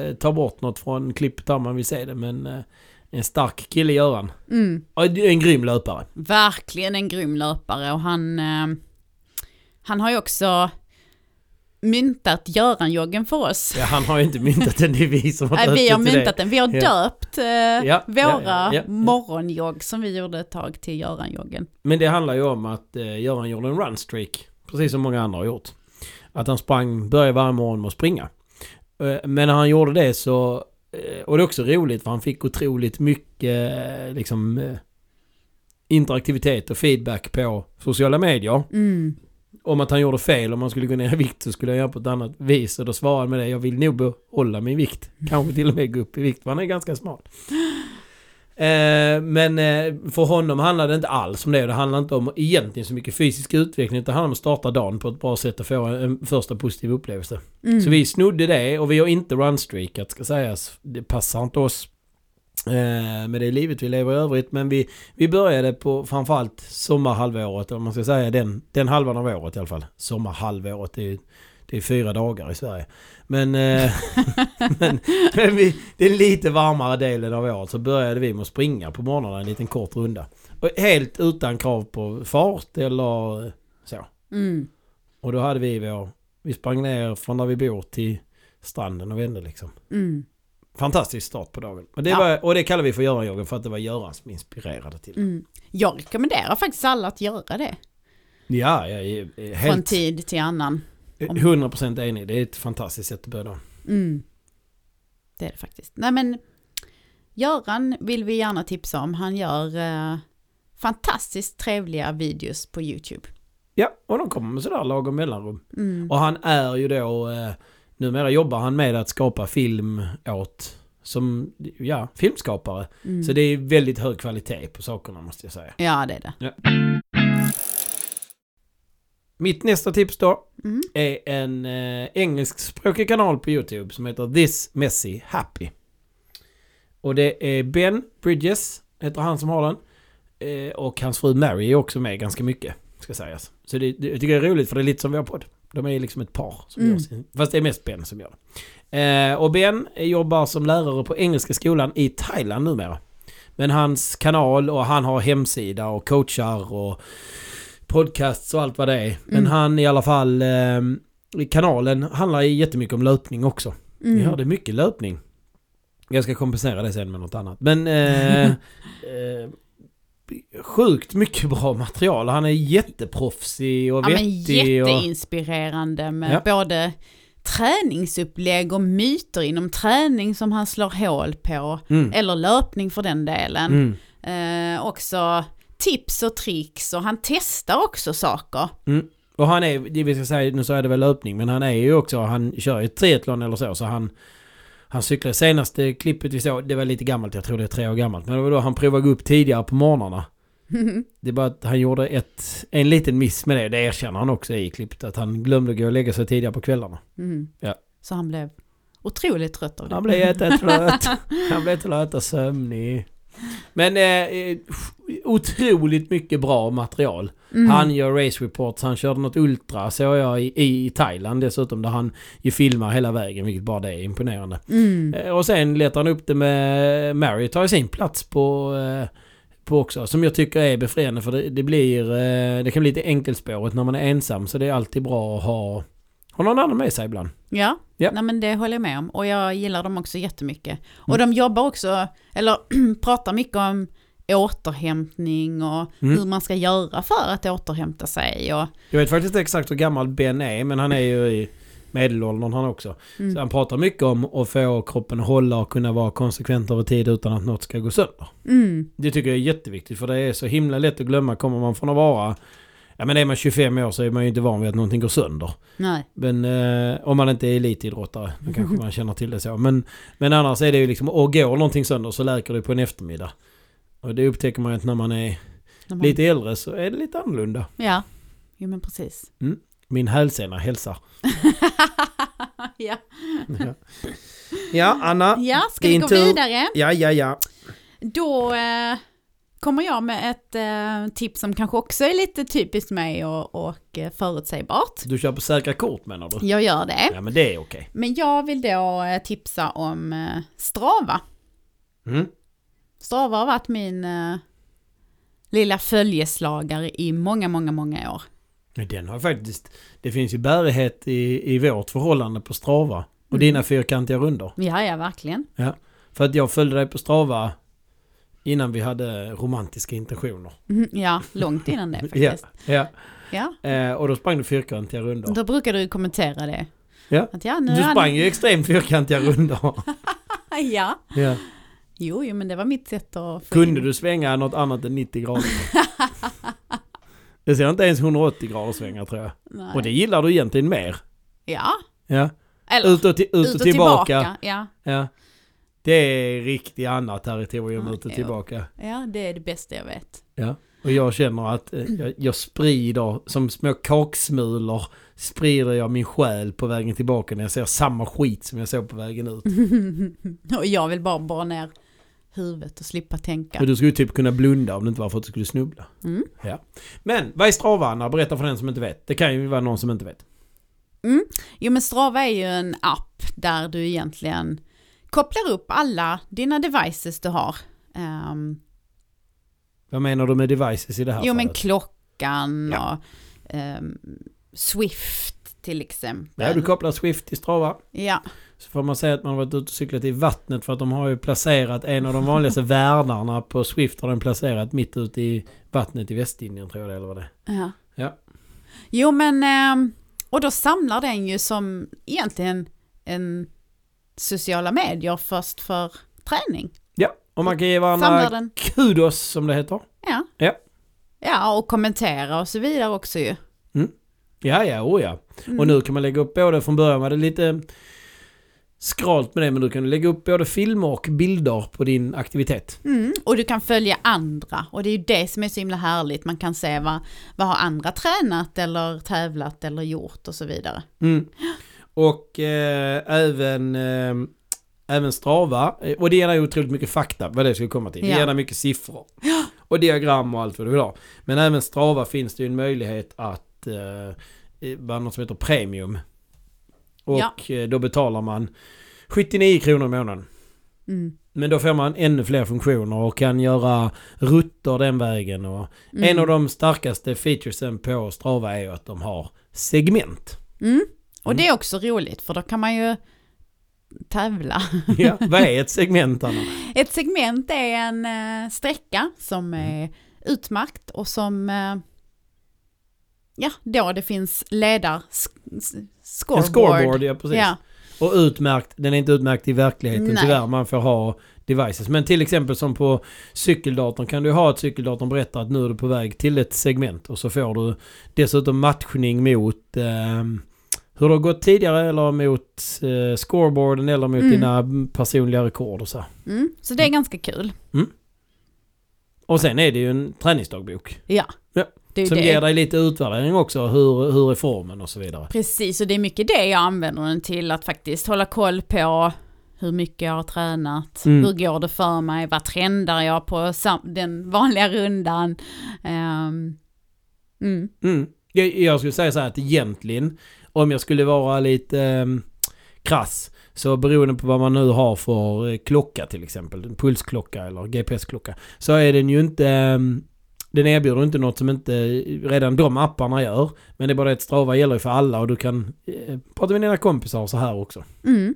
Speaker 1: eh, ta bort något från klippet här man vill se det men eh, en stark kille Göran.
Speaker 2: Mm.
Speaker 1: Och en grym löpare.
Speaker 2: Verkligen en grym löpare och han, eh, han har ju också myntat Göran-joggen för oss.
Speaker 1: (laughs) Ja, han har ju inte myntat den, det är vi som har
Speaker 2: Nej,
Speaker 1: döpt
Speaker 2: vi har
Speaker 1: den till det.
Speaker 2: myntat den, vi har
Speaker 1: Ja.
Speaker 2: döpt eh,
Speaker 1: ja,
Speaker 2: våra
Speaker 1: ja, ja.
Speaker 2: morgonjogg som vi gjorde ett tag till Göran-joggen.
Speaker 1: Men det handlar ju om att eh, Göran gjorde en runstreak. Precis som många andra har gjort. Att han sprang, började varje morgon med att springa. Eh, men när han gjorde det så... Eh, och det är också roligt för han fick otroligt mycket eh, liksom... Eh, interaktivitet och feedback på sociala medier.
Speaker 2: Mm.
Speaker 1: Om att han gjorde fel, om han skulle gå ner i vikt så skulle han göra på ett annat vis. Och då svarade han med det, jag vill nog behålla min vikt. Kanske till och med gå upp i vikt, för han är ganska smal. Eh, men eh, för honom handlar det inte alls om det. Det handlar inte om egentligen så mycket fysisk utveckling. Utan det handlar om att starta dagen på ett bra sätt och få en första positiv upplevelse.
Speaker 2: Mm.
Speaker 1: Så vi snodde det och vi har inte runstreakat ska sägas. Det passar inte oss. Eh, med det livet vi lever i övrigt. Men vi, vi började på framförallt sommarhalvåret. Om man ska säga den, den halvan av året i alla fall. Sommarhalvåret. Det är, det är fyra dagar i Sverige. Men, eh, (laughs) men, men vi, den lite varmare delen av året så började vi med att springa på morgnarna en liten kort runda. Och helt utan krav på fart eller så.
Speaker 2: Mm.
Speaker 1: Och då hade vi vår... Vi sprang ner från där vi bor till stranden och vände liksom.
Speaker 2: Mm.
Speaker 1: Fantastisk start på dagen. Och det,
Speaker 2: Ja.
Speaker 1: var, och det kallar vi för Göran-joggen för att det var Göran som inspirerade till det.
Speaker 2: Mm. Jag rekommenderar faktiskt alla att göra det
Speaker 1: Ja, jag är
Speaker 2: Mm. från
Speaker 1: helt
Speaker 2: tid till annan.
Speaker 1: 100% enig. Det är ett fantastiskt sätt att börja dagen.
Speaker 2: Mm. Det är det faktiskt. Nej men, Göran vill vi gärna tipsa om. Han gör eh, fantastiskt trevliga videos på YouTube.
Speaker 1: Ja, och de kommer med sådär lagom mellanrum.
Speaker 2: Mm.
Speaker 1: Och han är ju då... Eh, numera jobbar han med att skapa film åt som ja, filmskapare.
Speaker 2: Mm.
Speaker 1: Så det är väldigt hög kvalitet på sakerna måste jag säga.
Speaker 2: Ja, det är det.
Speaker 1: Mitt nästa tips då
Speaker 2: Mm.
Speaker 1: är en eh, engelskspråkig kanal på YouTube som heter This Messy Happy. Och det är Ben Bridges, heter han som har den. Eh, och hans fru Mary är också med ganska mycket, ska sägas. Så det, det jag tycker jag är roligt för det är lite som vår podd. De är liksom ett par som
Speaker 2: Mm.
Speaker 1: gör sin, Fast det är mest Ben som gör det. Eh, och Ben jobbar som lärare på Engelska skolan i Thailand numera. Men hans kanal och han har hemsida och coachar och podcasts och allt vad det är. Men
Speaker 2: Mm.
Speaker 1: han i alla fall, eh, kanalen handlar jättemycket om löpning också.
Speaker 2: Mm.
Speaker 1: Vi hörde mycket löpning. Jag ska kompensera det sen med något annat. Men
Speaker 2: (laughs)
Speaker 1: eh, eh, sjukt mycket bra material. Han är jätteproffsig och
Speaker 2: Ja, men
Speaker 1: vettig. och,
Speaker 2: jätteinspirerande med
Speaker 1: Ja.
Speaker 2: både träningsupplägg och myter inom träning som han slår hål på.
Speaker 1: mm,
Speaker 2: Eller löpning för den delen.
Speaker 1: mm,
Speaker 2: Eh, också tips och tricks och han testar också saker.
Speaker 1: och han är, det vi ska säga, nu sa jag det väl löpning, men han är ju också, han kör ju triathlon eller så, så han han cyklade senaste klippet vi såg, det var lite gammalt, jag tror det är tre år gammalt. Men det var då han provade gå upp tidigare på morgnarna. Det är bara att han gjorde ett, en liten miss med det, det erkänner han också i klippet. Att han glömde gå och lägga sig tidigare på kvällarna.
Speaker 2: Mm.
Speaker 1: Ja.
Speaker 2: Så han blev otroligt trött av det.
Speaker 1: Han blev jättetrött. Han blev trött och sömnig. Men eh, eh, otroligt mycket bra material.
Speaker 2: Mm.
Speaker 1: Han gör race reports, han körde något ultra såg jag i, i Thailand dessutom där han ju filmar hela vägen vilket bara det är imponerande.
Speaker 2: Mm.
Speaker 1: Eh, Och sen letar han upp det med Mary tar ju sin plats på, eh, på också som jag tycker är befriande för det, det blir eh, det kan bli lite enkelspåret när man är ensam så det är alltid bra att ha, ha någon annan med sig ibland.
Speaker 2: Ja,
Speaker 1: Ja.
Speaker 2: Nej, men det håller jag med om. Och jag gillar dem också jättemycket. Och
Speaker 1: Mm.
Speaker 2: de jobbar också, eller (clears throat) pratar mycket om återhämtning och
Speaker 1: Mm.
Speaker 2: hur man ska göra för att återhämta sig. Och,
Speaker 1: Jag vet faktiskt inte exakt hur gammal Ben är men han är ju i medelåldern han också.
Speaker 2: mm.
Speaker 1: Så han pratar mycket om att få kroppen att hålla och kunna vara konsekvent över tid utan att något ska gå sönder.
Speaker 2: Mm.
Speaker 1: Det tycker jag är jätteviktigt för det är så himla lätt att glömma. Kommer man från att vara... Ja men är man 25 år så är man ju inte van vid att någonting går sönder.
Speaker 2: Nej.
Speaker 1: Men eh, om man inte är elitidrottare, då kanske man känner till det så. Men, men annars är det ju liksom, och går någonting sönder så läker det på en eftermiddag. Och det upptäcker man ju att när man är
Speaker 2: när man-
Speaker 1: lite äldre så är det lite annorlunda.
Speaker 2: Ja, jo men precis.
Speaker 1: Min hälsena hälsar.
Speaker 2: ja.
Speaker 1: ja, Anna.
Speaker 2: ja, ska vi
Speaker 1: Din
Speaker 2: gå
Speaker 1: tur.
Speaker 2: vidare?
Speaker 1: Ja, ja, ja.
Speaker 2: Då eh, kommer jag med ett eh, tips som kanske också är lite typiskt mig och, och eh, förutsägbart.
Speaker 1: Du kör på säkra kort menar du?
Speaker 2: Jag gör det.
Speaker 1: Ja, men det är okej.
Speaker 2: Men jag vill då eh, tipsa om eh, Strava.
Speaker 1: Mm.
Speaker 2: Strava har varit min eh, lilla följeslagare i många, många, många år.
Speaker 1: Men Den har faktiskt... Det finns ju bärighet i, i vårt förhållande på Strava. Och
Speaker 2: Mm.
Speaker 1: dina fyrkantiga runder.
Speaker 2: Ja, ja, verkligen.
Speaker 1: För att jag följde dig på Strava innan vi hade romantiska intentioner.
Speaker 2: Mm, Ja, långt innan det
Speaker 1: (laughs) Ja,
Speaker 2: faktiskt.
Speaker 1: ja.
Speaker 2: Ja.
Speaker 1: Eh, och då sprang du fyrkantiga runder.
Speaker 2: Då brukade du kommentera det.
Speaker 1: Ja.
Speaker 2: Att ja, nu
Speaker 1: Du
Speaker 2: är han- Ah,
Speaker 1: sprang ju extremt fyrkantiga runder.
Speaker 2: (laughs) Ja,
Speaker 1: ja.
Speaker 2: jo, jo, men det var mitt sätt att... få
Speaker 1: Kunde
Speaker 2: in-
Speaker 1: du svänga något annat än 90
Speaker 2: (laughs)
Speaker 1: grader? Det ser inte ens 180 grader svängar tror jag.
Speaker 2: Nej.
Speaker 1: Och det gillar du egentligen mer.
Speaker 2: Ja,
Speaker 1: Ja.
Speaker 2: eller
Speaker 1: Ut och, ti- ut och tillbaka.
Speaker 2: Ja.
Speaker 1: Ja. Det är riktigt annat territorium
Speaker 2: Ja,
Speaker 1: ut och
Speaker 2: jo.
Speaker 1: tillbaka.
Speaker 2: ja, det är det bästa
Speaker 1: (laughs)
Speaker 2: jag vet.
Speaker 1: Och jag känner att eh, jag, jag sprider, som små kaksmulor, sprider jag min själ på vägen tillbaka när jag ser samma skit som jag såg på vägen ut.
Speaker 2: och jag vill bara borra ner huvudet och slippa tänka.
Speaker 1: Men du skulle ju typ kunna blunda om det inte var för att du skulle snubbla.
Speaker 2: Mm.
Speaker 1: Men vad är Strava Anna? Berätta för den som inte vet. Det kan ju vara någon som inte vet.
Speaker 2: Jo men Strava är ju en app där du egentligen kopplar upp alla dina devices du har. Ehm,
Speaker 1: Vad menar du med devices i det här
Speaker 2: jo men
Speaker 1: fallet?
Speaker 2: klockan
Speaker 1: Ja.
Speaker 2: och ehm, Swift till exempel.
Speaker 1: Ja, du kopplar Swift till Strava.
Speaker 2: ja.
Speaker 1: Så får man säga att man har varit ute och cyklat i vattnet för att de har ju placerat en av de vanligaste värdarna på Swift har den placerat mitt ute i vattnet i Västindien tror jag det eller vad det är.
Speaker 2: ja.
Speaker 1: Ja.
Speaker 2: Jo men, ehm, och då samlar den ju som egentligen en sociala medier först för träning.
Speaker 1: Ja, och man kan ge
Speaker 2: Samlar
Speaker 1: varandra
Speaker 2: den,
Speaker 1: kudos som det heter.
Speaker 2: ja.
Speaker 1: Ja.
Speaker 2: Ja, och kommentera och så vidare också ju.
Speaker 1: Ja, ja, oh ja.
Speaker 2: Mm.
Speaker 1: Och nu kan man lägga upp både från början var det lite skralt med det men du kan lägga upp både filmer och bilder på din aktivitet.
Speaker 2: Mm, och du kan följa andra och det är ju det som är så himla härligt. Man kan se vad, vad har andra tränat eller tävlat eller gjort och så vidare.
Speaker 1: Mm. Och eh, även, eh, även Strava. Eh, Och det ger dig otroligt mycket fakta, vad det skulle komma till. Det
Speaker 2: Ja.
Speaker 1: ger dig mycket siffror. Och diagram och allt vad du vill ha. Men även Strava finns det ju en möjlighet att eh, eh, vara något som heter premium. Och
Speaker 2: Ja.
Speaker 1: eh, då betalar man 79 kronor i månaden.
Speaker 2: Mm.
Speaker 1: Men då får man ännu fler funktioner och kan göra rutter den vägen. Och
Speaker 2: Mm.
Speaker 1: En av de starkaste featuresen på Strava är ju att de har
Speaker 2: (laughs)
Speaker 1: segment.
Speaker 2: Mm. Och det är också roligt för då kan man ju tävla. (laughs)
Speaker 1: Ja, vad är ett segment Anna?
Speaker 2: Ett segment är en eh, sträcka som
Speaker 1: Mm.
Speaker 2: är utmärkt och som eh, ja, då det finns ledar sk- s-
Speaker 1: En
Speaker 2: scoreboard.
Speaker 1: scoreboard, ja precis.
Speaker 2: Ja,
Speaker 1: Och utmärkt, den är inte utmärkt i verkligheten
Speaker 2: Nej.
Speaker 1: tyvärr, man får ha devices. Men till exempel som på cykeldatorn kan du ha ett cykeldatorn berättar att nu är du på väg till ett segment och så får du dessutom matchning mot ehm, hur det har gått tidigare eller mot eh, scoreboarden eller mot
Speaker 2: Mm.
Speaker 1: dina personliga rekord och så.
Speaker 2: mm. Så det är ganska kul.
Speaker 1: Och sen är det ju en träningsdagbok.
Speaker 2: Ja,
Speaker 1: Ja,
Speaker 2: det är ju
Speaker 1: Som
Speaker 2: det.
Speaker 1: ger dig lite utvärdering också, hur, hur är formen och så vidare.
Speaker 2: Precis, och det är mycket det jag använder den till, att faktiskt hålla koll på hur mycket jag har tränat,
Speaker 1: Mm.
Speaker 2: hur går det för mig, vad trendar jag på sam- den vanliga rundan. Ehm, mm.
Speaker 1: Mm. Jag, jag skulle säga så här att egentligen, om jag skulle vara lite ehm, krass, så beroende på vad man nu har för eh, klocka till exempel, en pulsklocka eller GPS-klocka, så är den ju inte ehm, den erbjuder inte något som inte eh, redan de apparna gör. Men det är bara det att Strava gäller ju för alla och du kan eh, prata med dina kompisar och så här också.
Speaker 2: Mm.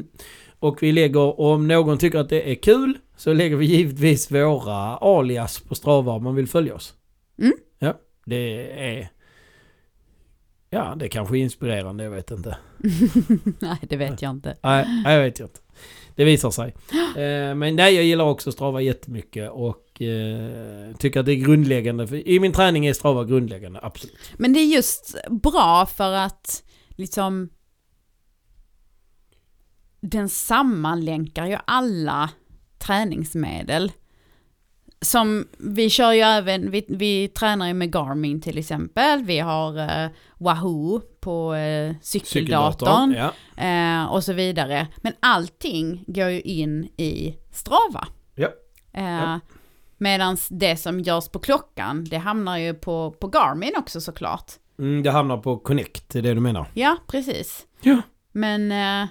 Speaker 2: (laughs)
Speaker 1: Och vi lägger, om någon tycker att det är kul, så lägger vi givetvis våra alias på Strava om man vill följa oss.
Speaker 2: Mm.
Speaker 1: Ja, det är... Ja, det kanske är inspirerande, jag vet inte.
Speaker 2: Nej, det vet jag inte.
Speaker 1: Nej, nej, jag vet inte. Det visar
Speaker 2: (gasps)
Speaker 1: sig. Eh, men nej, jag gillar också Strava jättemycket och eh, tycker att det är grundläggande. För I min träning är Strava grundläggande, absolut.
Speaker 2: Men det är just bra för att liksom den sammanlänkar ju alla träningsmedel. Som vi kör ju även, vi, vi tränar ju med Garmin till exempel, vi har eh, Wahoo på eh, cykeldatorn
Speaker 1: Ja,
Speaker 2: eh, och så vidare. Men allting går ju in i Strava.
Speaker 1: Ja.
Speaker 2: Eh,
Speaker 1: Ja.
Speaker 2: Medan det som görs på klockan, det hamnar ju på, på Garmin också såklart.
Speaker 1: mm, det hamnar på Connect, det är det du menar.
Speaker 2: Ja, precis.
Speaker 1: Ja.
Speaker 2: Men eh,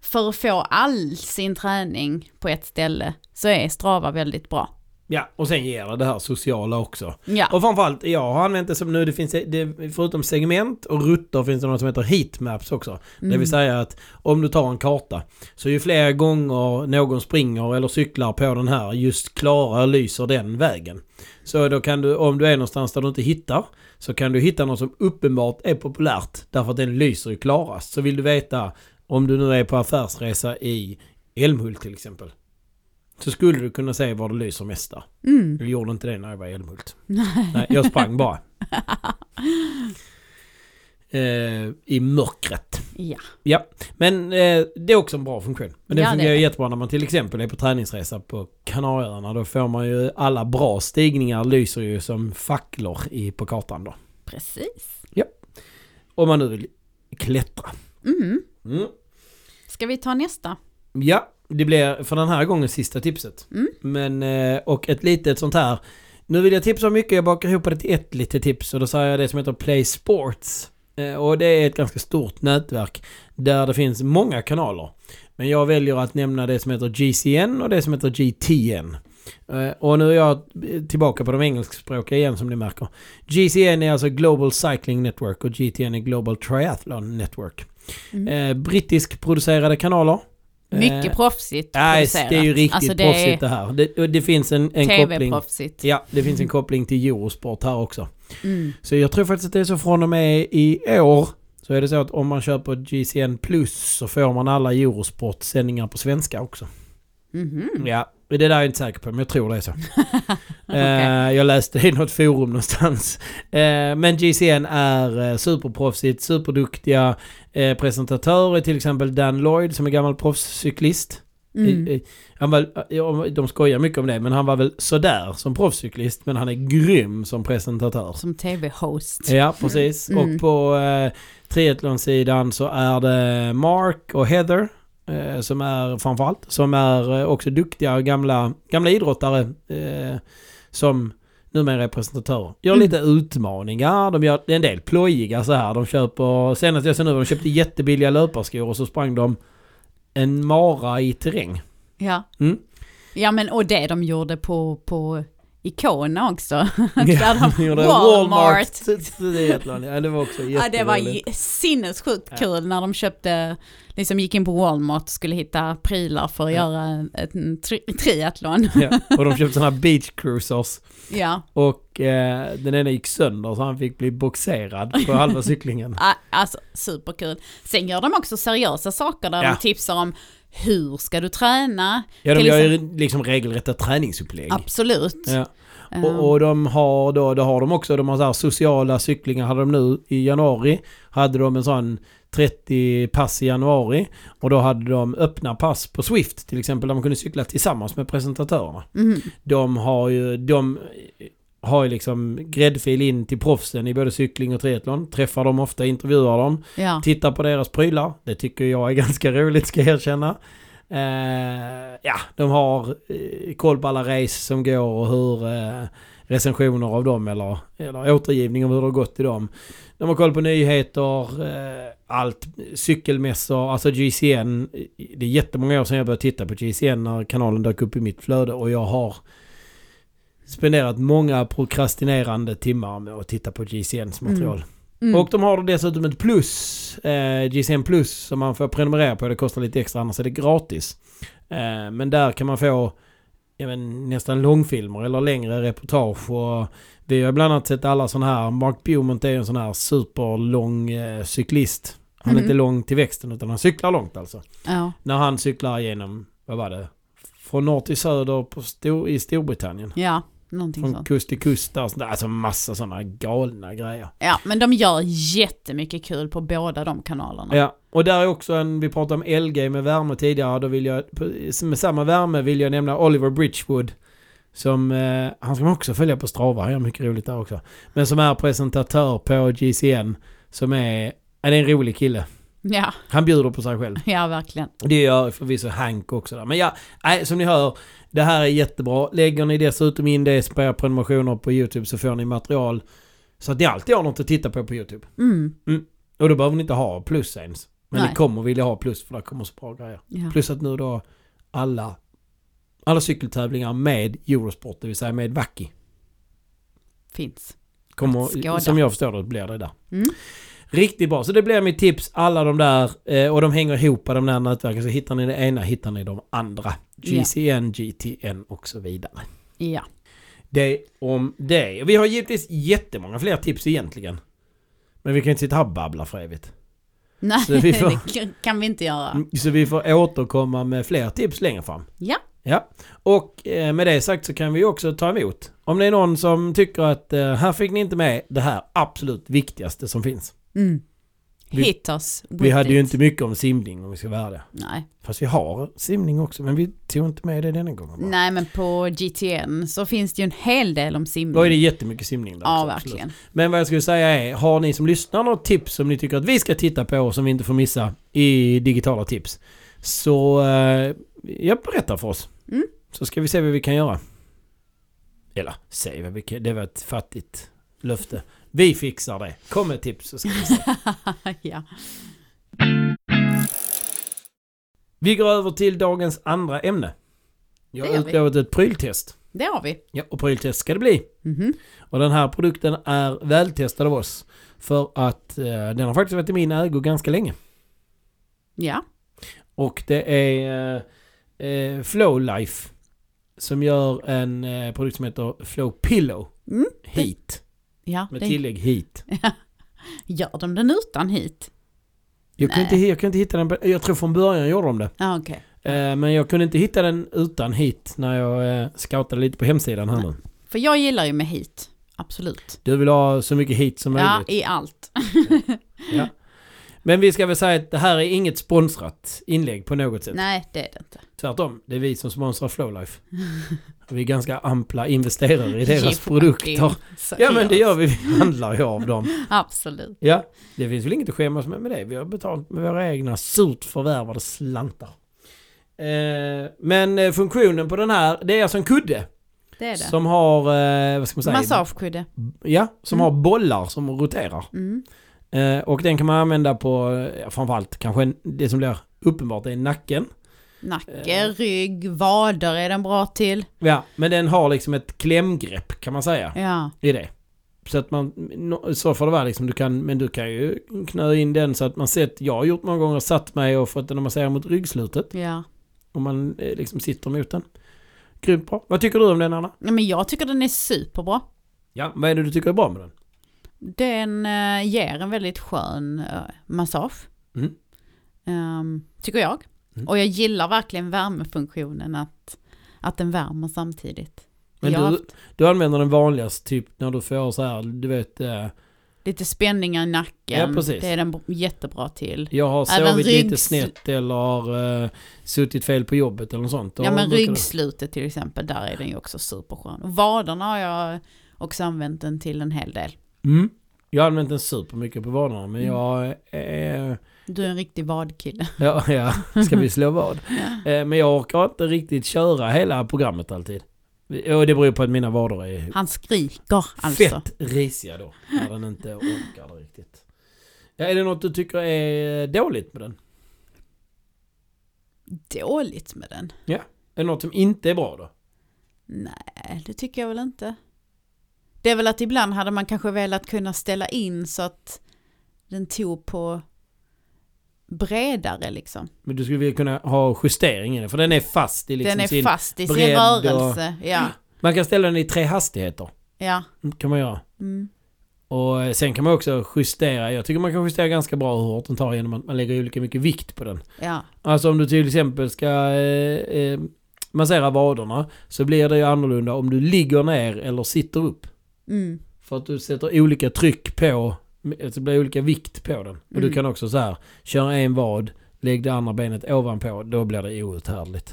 Speaker 2: för att få all sin träning på ett ställe så är Strava väldigt bra.
Speaker 1: Ja, och sen ger det det här sociala också.
Speaker 2: Ja,
Speaker 1: Och framförallt, jag har använt det som nu, det finns, det, förutom segment och rutter finns det något som heter heatmaps också. Det
Speaker 2: Mm.
Speaker 1: vill säga att om du tar en karta, så ju fler gånger någon springer eller cyklar på den här, just klarar lyser den vägen. Så då kan du, om du är någonstans där du inte hittar, så kan du hitta något som uppenbart är populärt, därför att den lyser ju klarast. Så vill du veta, om du nu är på affärsresa i Älmhult till exempel, så skulle du kunna se var det lyser mest där.
Speaker 2: mm.
Speaker 1: Jag gjorde inte det när jag var i Älmhult. Nej, jag sprang
Speaker 2: (laughs)
Speaker 1: bara. eh, I mörkret.
Speaker 2: ja.
Speaker 1: Men eh, det är också en bra funktion. Men den
Speaker 2: Ja, det
Speaker 1: fungerar
Speaker 2: är det.
Speaker 1: jättebra när man till exempel är på träningsresa på Kanarieöarna. Då får man ju alla bra stigningar lyser ju som facklor i, på kartan då.
Speaker 2: precis.
Speaker 1: Om man nu vill klättra.
Speaker 2: Mm.
Speaker 1: Mm.
Speaker 2: Ska vi ta nästa?
Speaker 1: Ja, det blir för den här gången sista tipset.
Speaker 2: Mm.
Speaker 1: Men, eh, och ett litet sånt här. Nu vill jag tipsa om mycket, jag bakar ihop det till ett litet tips och då säger jag det som heter Play Sports. Eh, Och det är ett ganska stort nätverk där det finns många kanaler. Men jag väljer att nämna det som heter GCN och det som heter GTN. Eh, Och nu är jag tillbaka på de engelskspråkiga igen som ni märker. GCN är alltså Global Cycling Network och GTN är Global Triathlon Network.
Speaker 2: Mm.
Speaker 1: Eh, Brittisk producerade kanaler.
Speaker 2: Mycket
Speaker 1: Eh,
Speaker 2: proffsigt
Speaker 1: Nej,
Speaker 2: producerat.
Speaker 1: det är ju riktigt
Speaker 2: alltså, det
Speaker 1: proffsigt det
Speaker 2: är
Speaker 1: här. Det, och det finns en, en koppling.
Speaker 2: tv-proffsigt.
Speaker 1: Ja, det finns en koppling till Eurosport här också.
Speaker 2: Mm.
Speaker 1: Så jag tror faktiskt att det är så från och med i år så är det så att om man köper GCN plus så får man alla Eurosport-sändningar på svenska också.
Speaker 2: Mhm.
Speaker 1: Ja, Men det där är jag inte säker på, men jag tror det är
Speaker 2: (laughs)
Speaker 1: så. Eh, jag läste det i något forum någonstans. Eh, men GCN är eh, superproffsigt, superduktiga eh, presentatörer, till exempel Dan Lloyd som är gammal proffscyklist.
Speaker 2: Mm.
Speaker 1: Eh, eh, Han var, ja, de skojar mycket om det, men han var väl sådär som proffscyklist, men han är grym som presentatör.
Speaker 2: Som tv-host.
Speaker 1: Ja, precis.
Speaker 2: Mm.
Speaker 1: Och på eh, triathlonsidan så är det Mark och Heather eh, som är framförallt, som är eh, också duktiga gamla, gamla idrottare eh, som numera är presentatörer.
Speaker 2: Mm.
Speaker 1: Gör lite utmaningar, de gör en del plojiga så här. De köper, senast jag såg nu, de köpte jättebilliga löparskor och så sprang de en mara i terräng.
Speaker 2: Ja.
Speaker 1: Mm.
Speaker 2: ja, men och det de gjorde på, på
Speaker 1: (laughs)
Speaker 2: Ikona också.
Speaker 1: Ja, de (laughs) gjorde
Speaker 2: Walmart.
Speaker 1: triathlon. Ja, det var också
Speaker 2: (laughs) Ja, det var
Speaker 1: jätteroligt.
Speaker 2: ju sinnessjukt
Speaker 1: Ja.
Speaker 2: kul när de köpte, liksom gick in på Walmart och skulle hitta prylar för att
Speaker 1: Ja.
Speaker 2: göra en, en tri
Speaker 1: (laughs)
Speaker 2: triathlon.
Speaker 1: Ja, och de köpte sådana här beach cruisers.
Speaker 2: Ja,
Speaker 1: Och eh, den ena gick sönder så han fick bli
Speaker 2: (laughs)
Speaker 1: boxerad på halva cyklingen.
Speaker 2: a- alltså superkul. Sen gör de också seriösa saker där
Speaker 1: Ja.
Speaker 2: de tipsar om hur ska du träna?
Speaker 1: Ja, de
Speaker 2: Till
Speaker 1: gör ju liksom regelrätta träningsupplägg.
Speaker 2: Absolut.
Speaker 1: Ja.
Speaker 2: Ehm,
Speaker 1: Och, och de har då, det har de också, de har så här sociala cyklingar hade de nu i januari. Hade de en sån 30 pass i januari. Och då hade de öppna pass på Swift till exempel där man kunde cykla tillsammans med presentatörerna.
Speaker 2: mhm.
Speaker 1: De har ju, de har ju liksom gräddfil in till proffsen i både cykling och triathlon. Träffar dem ofta, intervjuar dem.
Speaker 2: ja.
Speaker 1: Titta på deras prylar. Det tycker jag är (laughs) ganska roligt ska jag erkänna. Eh, ja, de har eh, koll på alla race som går och hur eh, recensioner av dem eller, eller återgivning om hur det har gått i dem. De har koll på nyheter, eh, allt, cykelmässor, alltså GCN. Det är jättemånga år sedan jag började titta på GCN när kanalen dök upp i mitt flöde och jag har spenderat många prokrastinerande timmar med att titta på GCNs material.
Speaker 2: Mm.
Speaker 1: Och de har dessutom ett plus, eh, GCN plus, som man får prenumerera på. Det kostar lite extra, annars är det gratis. Eh, men där kan man få ja, men, nästan långfilmer eller längre reportage. Och vi har bland annat sett alla sådana här, Mark Beaumont är ju en sån här superlång eh, cyklist. Han är
Speaker 2: Mhm.
Speaker 1: inte lång till växten utan han cyklar långt alltså.
Speaker 2: ja.
Speaker 1: När han cyklar genom, vad var det, från norr till söder på Stor- i Storbritannien.
Speaker 2: ja, någonting
Speaker 1: Från
Speaker 2: sånt.
Speaker 1: kust till kust, där, alltså massa sådana galna grejer.
Speaker 2: Ja, men de gör jättemycket kul på båda de kanalerna.
Speaker 1: Ja, och där är också en, vi pratade om LG med värme tidigare, då vill jag, på- med samma värme vill jag nämna Oliver Bridgewood. Som, eh, han ska man också följa på Strava, han gör mycket roligt där också. Men som är presentatör på GCN, som är, ja, det är en rolig kille.
Speaker 2: Ja,
Speaker 1: Han bjuder på sig själv.
Speaker 2: ja verkligen.
Speaker 1: Det gör förvisso Hank också där. Men ja, nej, som ni hör, det här är jättebra. Lägger ni dessutom in det på era prenumerationer på YouTube så får ni material. Så att ni alltid har något att titta på på YouTube.
Speaker 2: Mm,
Speaker 1: Och då behöver ni inte ha plus ens. Men
Speaker 2: Nej.
Speaker 1: ni kommer vilja ha plus för det kommer så bra grejer.
Speaker 2: ja.
Speaker 1: Plus att nu då alla, alla cykeltävlingar med Eurosport, det vill säga med Vacki,
Speaker 2: Finns.
Speaker 1: kommer,
Speaker 2: Skåda.
Speaker 1: som jag förstår det blir det där.
Speaker 2: Mm.
Speaker 1: Riktigt bra, så det blir mitt tips. Alla de där, eh, och de hänger ihop de där nätverken. Så hittar ni det ena hittar ni de andra.
Speaker 2: Ja.
Speaker 1: GCN, GTN och så vidare.
Speaker 2: Ja.
Speaker 1: Det om det. Vi har givetvis jättemånga fler tips egentligen. Men vi kan inte sitta här och babbla för evigt.
Speaker 2: Nej, (laughs)
Speaker 1: Så vi får-
Speaker 2: det kan vi inte göra.
Speaker 1: Mm, Så vi får återkomma med fler tips längre fram.
Speaker 2: Ja.
Speaker 1: Ja, och eh, med det sagt så kan vi också ta emot. Om det är någon som tycker att eh, här fick ni inte med det här absolut viktigaste som finns.
Speaker 2: Mm.
Speaker 1: Vi-
Speaker 2: Hit us with
Speaker 1: Vi hade ju
Speaker 2: it.
Speaker 1: inte mycket om simning om vi ska vara det.
Speaker 2: Nej.
Speaker 1: Fast vi har simning också, men vi tog inte med det denna gången. bara.
Speaker 2: Nej, men på GTN så finns det ju en hel del om simning.
Speaker 1: Då är det jättemycket simning där
Speaker 2: ja,
Speaker 1: också, absolut.
Speaker 2: verkligen.
Speaker 1: Men vad jag skulle säga är, har ni som lyssnar något tips som ni tycker att vi ska titta på som vi inte får missa i digitala tips. Så eh, ja, berätta för oss.
Speaker 2: Mm.
Speaker 1: Så ska vi se vad vi kan göra. Eller säg vad vi kan, det var ett fattigt löfte. Vi fixar det. Kom med tips så ska vi se.
Speaker 2: (laughs) ja.
Speaker 1: Vi går över till dagens andra ämne. Jag
Speaker 2: Det
Speaker 1: har
Speaker 2: gör vi.
Speaker 1: utlovat ett pryltest.
Speaker 2: Det har vi.
Speaker 1: Ja, och pryltest ska det bli.
Speaker 2: Mhm.
Speaker 1: Och den här produkten är vältestad av oss. För att eh, den har faktiskt varit i min ägo ganska länge.
Speaker 2: Ja.
Speaker 1: Och det är eh, eh, Flowlife som gör en eh, produkt som heter Flow Pillow
Speaker 2: Mm.
Speaker 1: Heat.
Speaker 2: Ja,
Speaker 1: Med
Speaker 2: det-
Speaker 1: tillägg Heat.
Speaker 2: Gör de den utan hit?
Speaker 1: Jag kan,
Speaker 2: Nej.
Speaker 1: inte, jag kan inte hitta den. på- Jag tror från början gjorde de det.
Speaker 2: Ja, okej.
Speaker 1: Eh, Men jag kunde inte hitta den utan hit när jag eh, scoutade lite på hemsidan här nu.
Speaker 2: För jag gillar ju med hit, absolut.
Speaker 1: Du vill ha så mycket hit som
Speaker 2: Ja,
Speaker 1: möjligt.
Speaker 2: i allt.
Speaker 1: Men vi ska väl säga att det här är inget sponsrat inlägg på något sätt.
Speaker 2: Nej, det är det inte.
Speaker 1: Tvärtom, det är vi som sponsrar Flowlife. Och vi är ganska ampla
Speaker 2: (laughs)
Speaker 1: investerare i
Speaker 2: Ge
Speaker 1: deras
Speaker 2: fucking
Speaker 1: produkter. Ja men det gör
Speaker 2: seriöst.
Speaker 1: vi, vi handlar ju av dem.
Speaker 2: Absolut.
Speaker 1: Ja, det finns väl inget att skämmas med med det. Vi har betalt med våra egna surt förvärvade slantar. Eh, men eh, funktionen på den här, det är alltså en kudde.
Speaker 2: Det är det.
Speaker 1: Som har, eh, vad ska man säga?
Speaker 2: Massagekudde.
Speaker 1: Ja, som
Speaker 2: Mm.
Speaker 1: har bollar som roterar.
Speaker 2: Mm.
Speaker 1: Eh, och den kan man använda på, eh, ja, framförallt kanske en, det som blir uppenbart är nacken.
Speaker 2: Nacke,
Speaker 1: Eh.
Speaker 2: rygg, vader är den bra till.
Speaker 1: Ja, men den har liksom ett klämgrepp kan man säga
Speaker 2: Ja,
Speaker 1: i det. Så att man, no- så får det vara liksom, du kan, men du kan ju knö in den så att man sett, jag har gjort många gånger, satt mig och fått den att massera mot ryggslutet.
Speaker 2: ja.
Speaker 1: Om man eh, liksom sitter mot den. Grymt bra. Vad tycker du om den Anna?
Speaker 2: ja men jag tycker den är superbra.
Speaker 1: Ja, vad är det du tycker är bra med den?
Speaker 2: Den eh, ger en väldigt skön eh, massage.
Speaker 1: Mm.
Speaker 2: Ehm, tycker jag.
Speaker 1: Mm.
Speaker 2: Och jag gillar verkligen värmefunktionen att, att den värmer samtidigt.
Speaker 1: Men
Speaker 2: jag har
Speaker 1: du-
Speaker 2: haft
Speaker 1: Du använder den vanligast typ när du får så här, du vet, eh,
Speaker 2: lite spänningar i nacken.
Speaker 1: Ja, precis.
Speaker 2: det är den b- jättebra till.
Speaker 1: jag har
Speaker 2: Även
Speaker 1: sovit lite
Speaker 2: ryggs-
Speaker 1: snett eller eh, suttit fel på jobbet eller något sånt. Då
Speaker 2: ja men
Speaker 1: brukar du-
Speaker 2: ryggslutet till exempel, där är den ju också superskön. Och vaderna har jag också använt den till en hel del.
Speaker 1: Mm. Jag har använt den supermycket på vanorna men
Speaker 2: Mm.
Speaker 1: jag eh,
Speaker 2: Du är en riktig vadkille.
Speaker 1: Ja, ja, ska vi slå
Speaker 2: (laughs)
Speaker 1: vad? Eh, Men jag orkar inte riktigt köra hela programmet alltid. Och det beror på att mina vader är
Speaker 2: Han skriker alltså.
Speaker 1: fett risiga då. När den inte orkar det riktigt. Ja, är det något du tycker är dåligt med den?
Speaker 2: Dåligt med den.
Speaker 1: Är det något som inte är bra då?
Speaker 2: Nej, det tycker jag väl inte. Det är väl att ibland hade man kanske velat kunna ställa in så att den tog på bredare liksom.
Speaker 1: Men du skulle vilja kunna ha justering i den, för den är fast i liksom
Speaker 2: den är
Speaker 1: sin...
Speaker 2: fast i sin
Speaker 1: bredd och-
Speaker 2: rörelse. Ja,
Speaker 1: Man kan ställa den i tre hastigheter.
Speaker 2: ja.
Speaker 1: Kan man göra.
Speaker 2: Mm.
Speaker 1: Och eh, sen kan man också justera, jag tycker man kan justera ganska bra hur hårt den tar genom att man lägger olika mycket vikt på den.
Speaker 2: ja.
Speaker 1: Alltså om du till exempel ska eh, eh, massera vaderna så blir det ju annorlunda om du ligger ner eller sitter upp.
Speaker 2: Mm. (laughs)
Speaker 1: För att du sätter olika tryck på, alltså det blir olika vikt på den. Och du
Speaker 2: Mm.
Speaker 1: kan också så här, köra en vad, lägg det andra benet ovanpå, då blir det outhärdligt.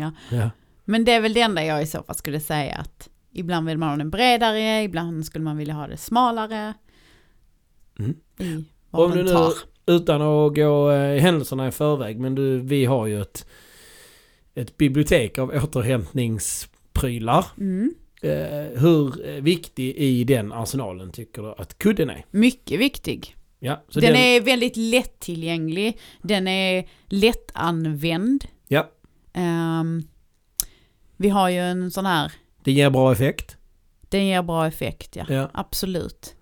Speaker 2: ja.
Speaker 1: Ja.
Speaker 2: Men det är väl det enda jag i så fall skulle säga att ibland vill man ha den bredare, ibland skulle man vilja ha det smalare.
Speaker 1: Mm.
Speaker 2: I vad
Speaker 1: Om du
Speaker 2: den
Speaker 1: nu,
Speaker 2: tar.
Speaker 1: utan att gå eh, händelserna i förväg, men du, vi har ju ett, ett bibliotek av återhämtningsprylar.
Speaker 2: Mm.
Speaker 1: Eh, hur eh, viktig i den arsenalen tycker du att kudden är?
Speaker 2: Mycket viktig.
Speaker 1: Ja, så
Speaker 2: Den, är väldigt lättillgänglig, den är lättanvänd.
Speaker 1: Ja.
Speaker 2: Ehm, vi har ju en sån här,
Speaker 1: Det ger bra effekt.
Speaker 2: den ger bra effekt ja,
Speaker 1: Ja.
Speaker 2: absolut.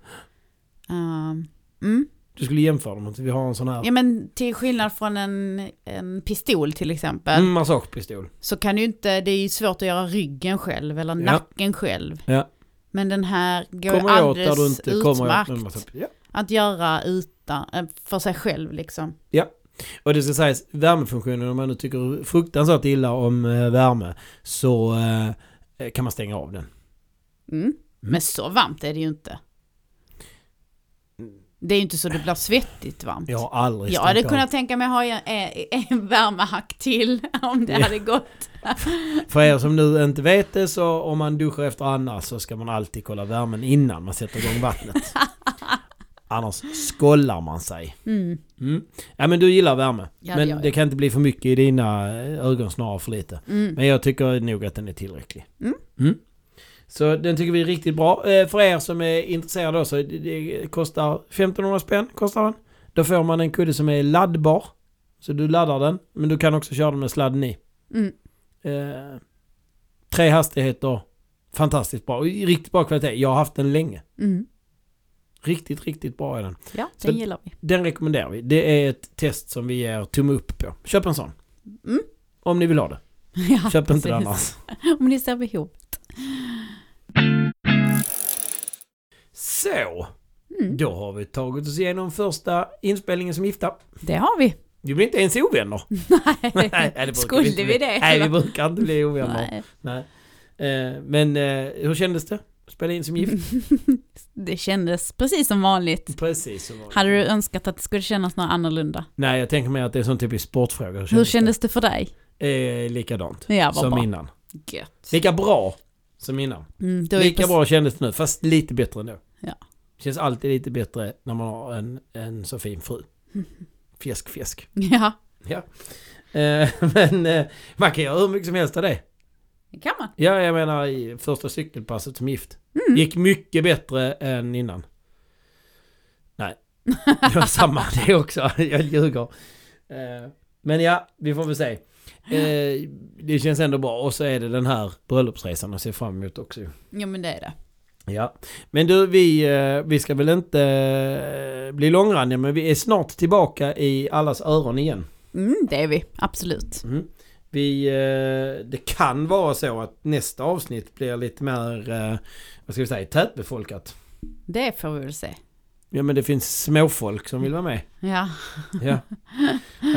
Speaker 2: Ehm, mm.
Speaker 1: Du skulle jämföra dem. att Vi har en sån här
Speaker 2: Ja men till skillnad från en, en pistol till exempel
Speaker 1: mm, massagepistol.
Speaker 2: så kan du inte, det är ju svårt att göra ryggen själv eller
Speaker 1: Ja.
Speaker 2: nacken själv.
Speaker 1: Ja.
Speaker 2: Men den här går ju
Speaker 1: Kommer jag åt där
Speaker 2: alldeles
Speaker 1: du inte kommer åt
Speaker 2: utmärkt
Speaker 1: med en massage- ja.
Speaker 2: att göra utan, eh, för sig själv liksom.
Speaker 1: Och det ska sägas, värmefunktionen om man nu tycker fruktansvärt illa om eh, värme så eh, kan man stänga av den.
Speaker 2: Mm. Men så varmt är det ju inte.
Speaker 1: Mm.
Speaker 2: Det är ju inte så det blir svettigt varmt.
Speaker 1: Jag har aldrig
Speaker 2: jag
Speaker 1: stängt
Speaker 2: hade
Speaker 1: av.
Speaker 2: kunnat tänka mig ha en, en- eh, en värmehack till (laughs) om det
Speaker 1: Ja.
Speaker 2: hade gått.
Speaker 1: För er som nu inte vet det så om man duschar efter Anna så ska man alltid kolla värmen innan man sätter igång
Speaker 2: (laughs)
Speaker 1: vattnet. Annars skollar man sig.
Speaker 2: Mm.
Speaker 1: Mm. Ja men du gillar värme.
Speaker 2: Ja, det
Speaker 1: men
Speaker 2: gör jag.
Speaker 1: det kan inte bli för mycket i dina eh, ögon snarare för lite.
Speaker 2: Mm.
Speaker 1: Men jag tycker nog att den är tillräcklig.
Speaker 2: Mm.
Speaker 1: Så den tycker vi är riktigt bra. Eh, För er som är intresserade då, så det- det kostar 1500 spänn. Kostar den. Då får man en kudde som är laddbar. Så du laddar den. Men du kan också köra den med sladden i.
Speaker 2: Mm.
Speaker 1: Eh, tre hastigheter. Fantastiskt bra. Och Riktigt bra kvalitet. Jag har haft den länge.
Speaker 2: Mm.
Speaker 1: Riktigt, riktigt bra är den.
Speaker 2: Ja,
Speaker 1: Så-
Speaker 2: den gillar vi.
Speaker 1: Den rekommenderar vi. Det är ett test som vi ger tumme upp på. Köp en sån.
Speaker 2: Mm. (laughs)
Speaker 1: Om ni vill ha det.
Speaker 2: Ja,
Speaker 1: Köp inte den
Speaker 2: precis.
Speaker 1: annars.
Speaker 2: Om ni ser behov.
Speaker 1: Så,
Speaker 2: Mm. Mm.
Speaker 1: då har vi tagit oss igenom första inspelningen som gifta.
Speaker 2: Det har vi. (laughs)
Speaker 1: Vi blir inte ens ovänner. Nej, det brukar
Speaker 2: Skulle
Speaker 1: inte
Speaker 2: vi
Speaker 1: bli.
Speaker 2: det,
Speaker 1: Nej, vi
Speaker 2: eller?
Speaker 1: brukar inte bli ovänner.
Speaker 2: Nej.
Speaker 1: Nej. Eh, Men eh, hur kändes det? Spela in som
Speaker 2: (laughs)
Speaker 1: gift?
Speaker 2: Det kändes precis som vanligt.
Speaker 1: Precis så var det.
Speaker 2: Hade du önskat att det skulle kännas något annorlunda?
Speaker 1: Nej, jag tänker mig att det är sån typisk sportfråga.
Speaker 2: Hur kändes det för dig?
Speaker 1: det? Eh, likadant.
Speaker 2: Ja, vad
Speaker 1: som
Speaker 2: bra.
Speaker 1: innan.
Speaker 2: Gött.
Speaker 1: Lika bra som innan.
Speaker 2: Mm, du har ju
Speaker 1: Lika
Speaker 2: precis-
Speaker 1: bra kändes det nu, fast lite bättre ändå.
Speaker 2: Ja.
Speaker 1: Känns alltid lite bättre när man har en, en så fin
Speaker 2: (laughs)
Speaker 1: fru. Fjäsk, fjäsk.
Speaker 2: (laughs) Ja,
Speaker 1: Ja. Eh, (laughs) men eh, man kan göra hur mycket som helst av det.
Speaker 2: det kan man.
Speaker 1: Ja, jag menar i första cykelpasset som gift. Gick mycket bättre än innan. Nej, det var samma det också. Jag ljuger. Eh, Men ja, vi får väl se. Eh, Det känns ändå bra. Och så är det den här bröllopsresan att se fram emot också.
Speaker 2: Ja, men det är det.
Speaker 1: Ja, men du vi, eh, vi ska väl inte eh, bli långrandiga men vi är snart tillbaka i allas öron igen.
Speaker 2: Mm, det är vi, absolut.
Speaker 1: Mm. Vi, eh, det kan vara så att nästa avsnitt blir lite mer, eh, vad ska vi säga, tätbefolkat.
Speaker 2: Det får vi väl se.
Speaker 1: Ja men det finns småfolk som vill vara med.
Speaker 2: Ja, (laughs)
Speaker 1: Ja.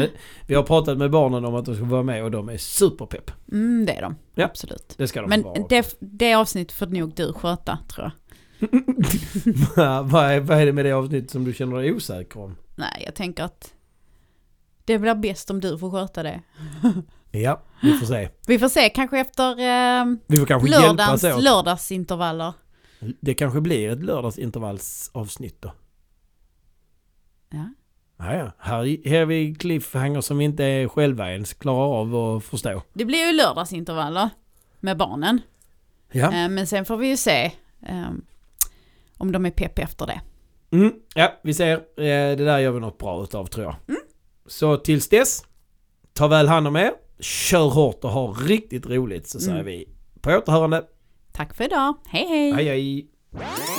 Speaker 1: Eh, Vi har pratat med barnen om att de ska vara med och de är superpepp.
Speaker 2: mm, det är de.
Speaker 1: Ja.
Speaker 2: Absolut.
Speaker 1: Det ska de
Speaker 2: Men
Speaker 1: få vara.
Speaker 2: det, det avsnittet får nog du sköta, tror jag.
Speaker 1: (laughs) vad, vad är, vad är det med det avsnittet som du känner dig osäker om?
Speaker 2: Nej, jag tänker att det blir bäst om du får sköta det.
Speaker 1: Ja, vi får se.
Speaker 2: Vi får se, kanske efter eh,
Speaker 1: Vi får kanske
Speaker 2: lördagens,
Speaker 1: hjälpas åt.
Speaker 2: lördagsintervaller.
Speaker 1: Det kanske blir ett lördagsintervallsavsnitt då.
Speaker 2: Ja.
Speaker 1: Ja, ja. Här, här är vi cliffhanger som vi inte är själva ens klarar av att förstå.
Speaker 2: Det blir ju lördagsintervaller med barnen.
Speaker 1: Ja.
Speaker 2: Eh, men sen får vi ju se eh, om de är pepp efter det.
Speaker 1: Mm, ja, vi ser. Eh, Det där gör vi något bra utav tror jag.
Speaker 2: Mm.
Speaker 1: Så tills dess, ta väl hand om er, kör hårt och ha riktigt roligt så säger
Speaker 2: Mm.
Speaker 1: vi på återhörande.
Speaker 2: Tack för idag, hej hej!
Speaker 1: Hej hej!
Speaker 3: Bye.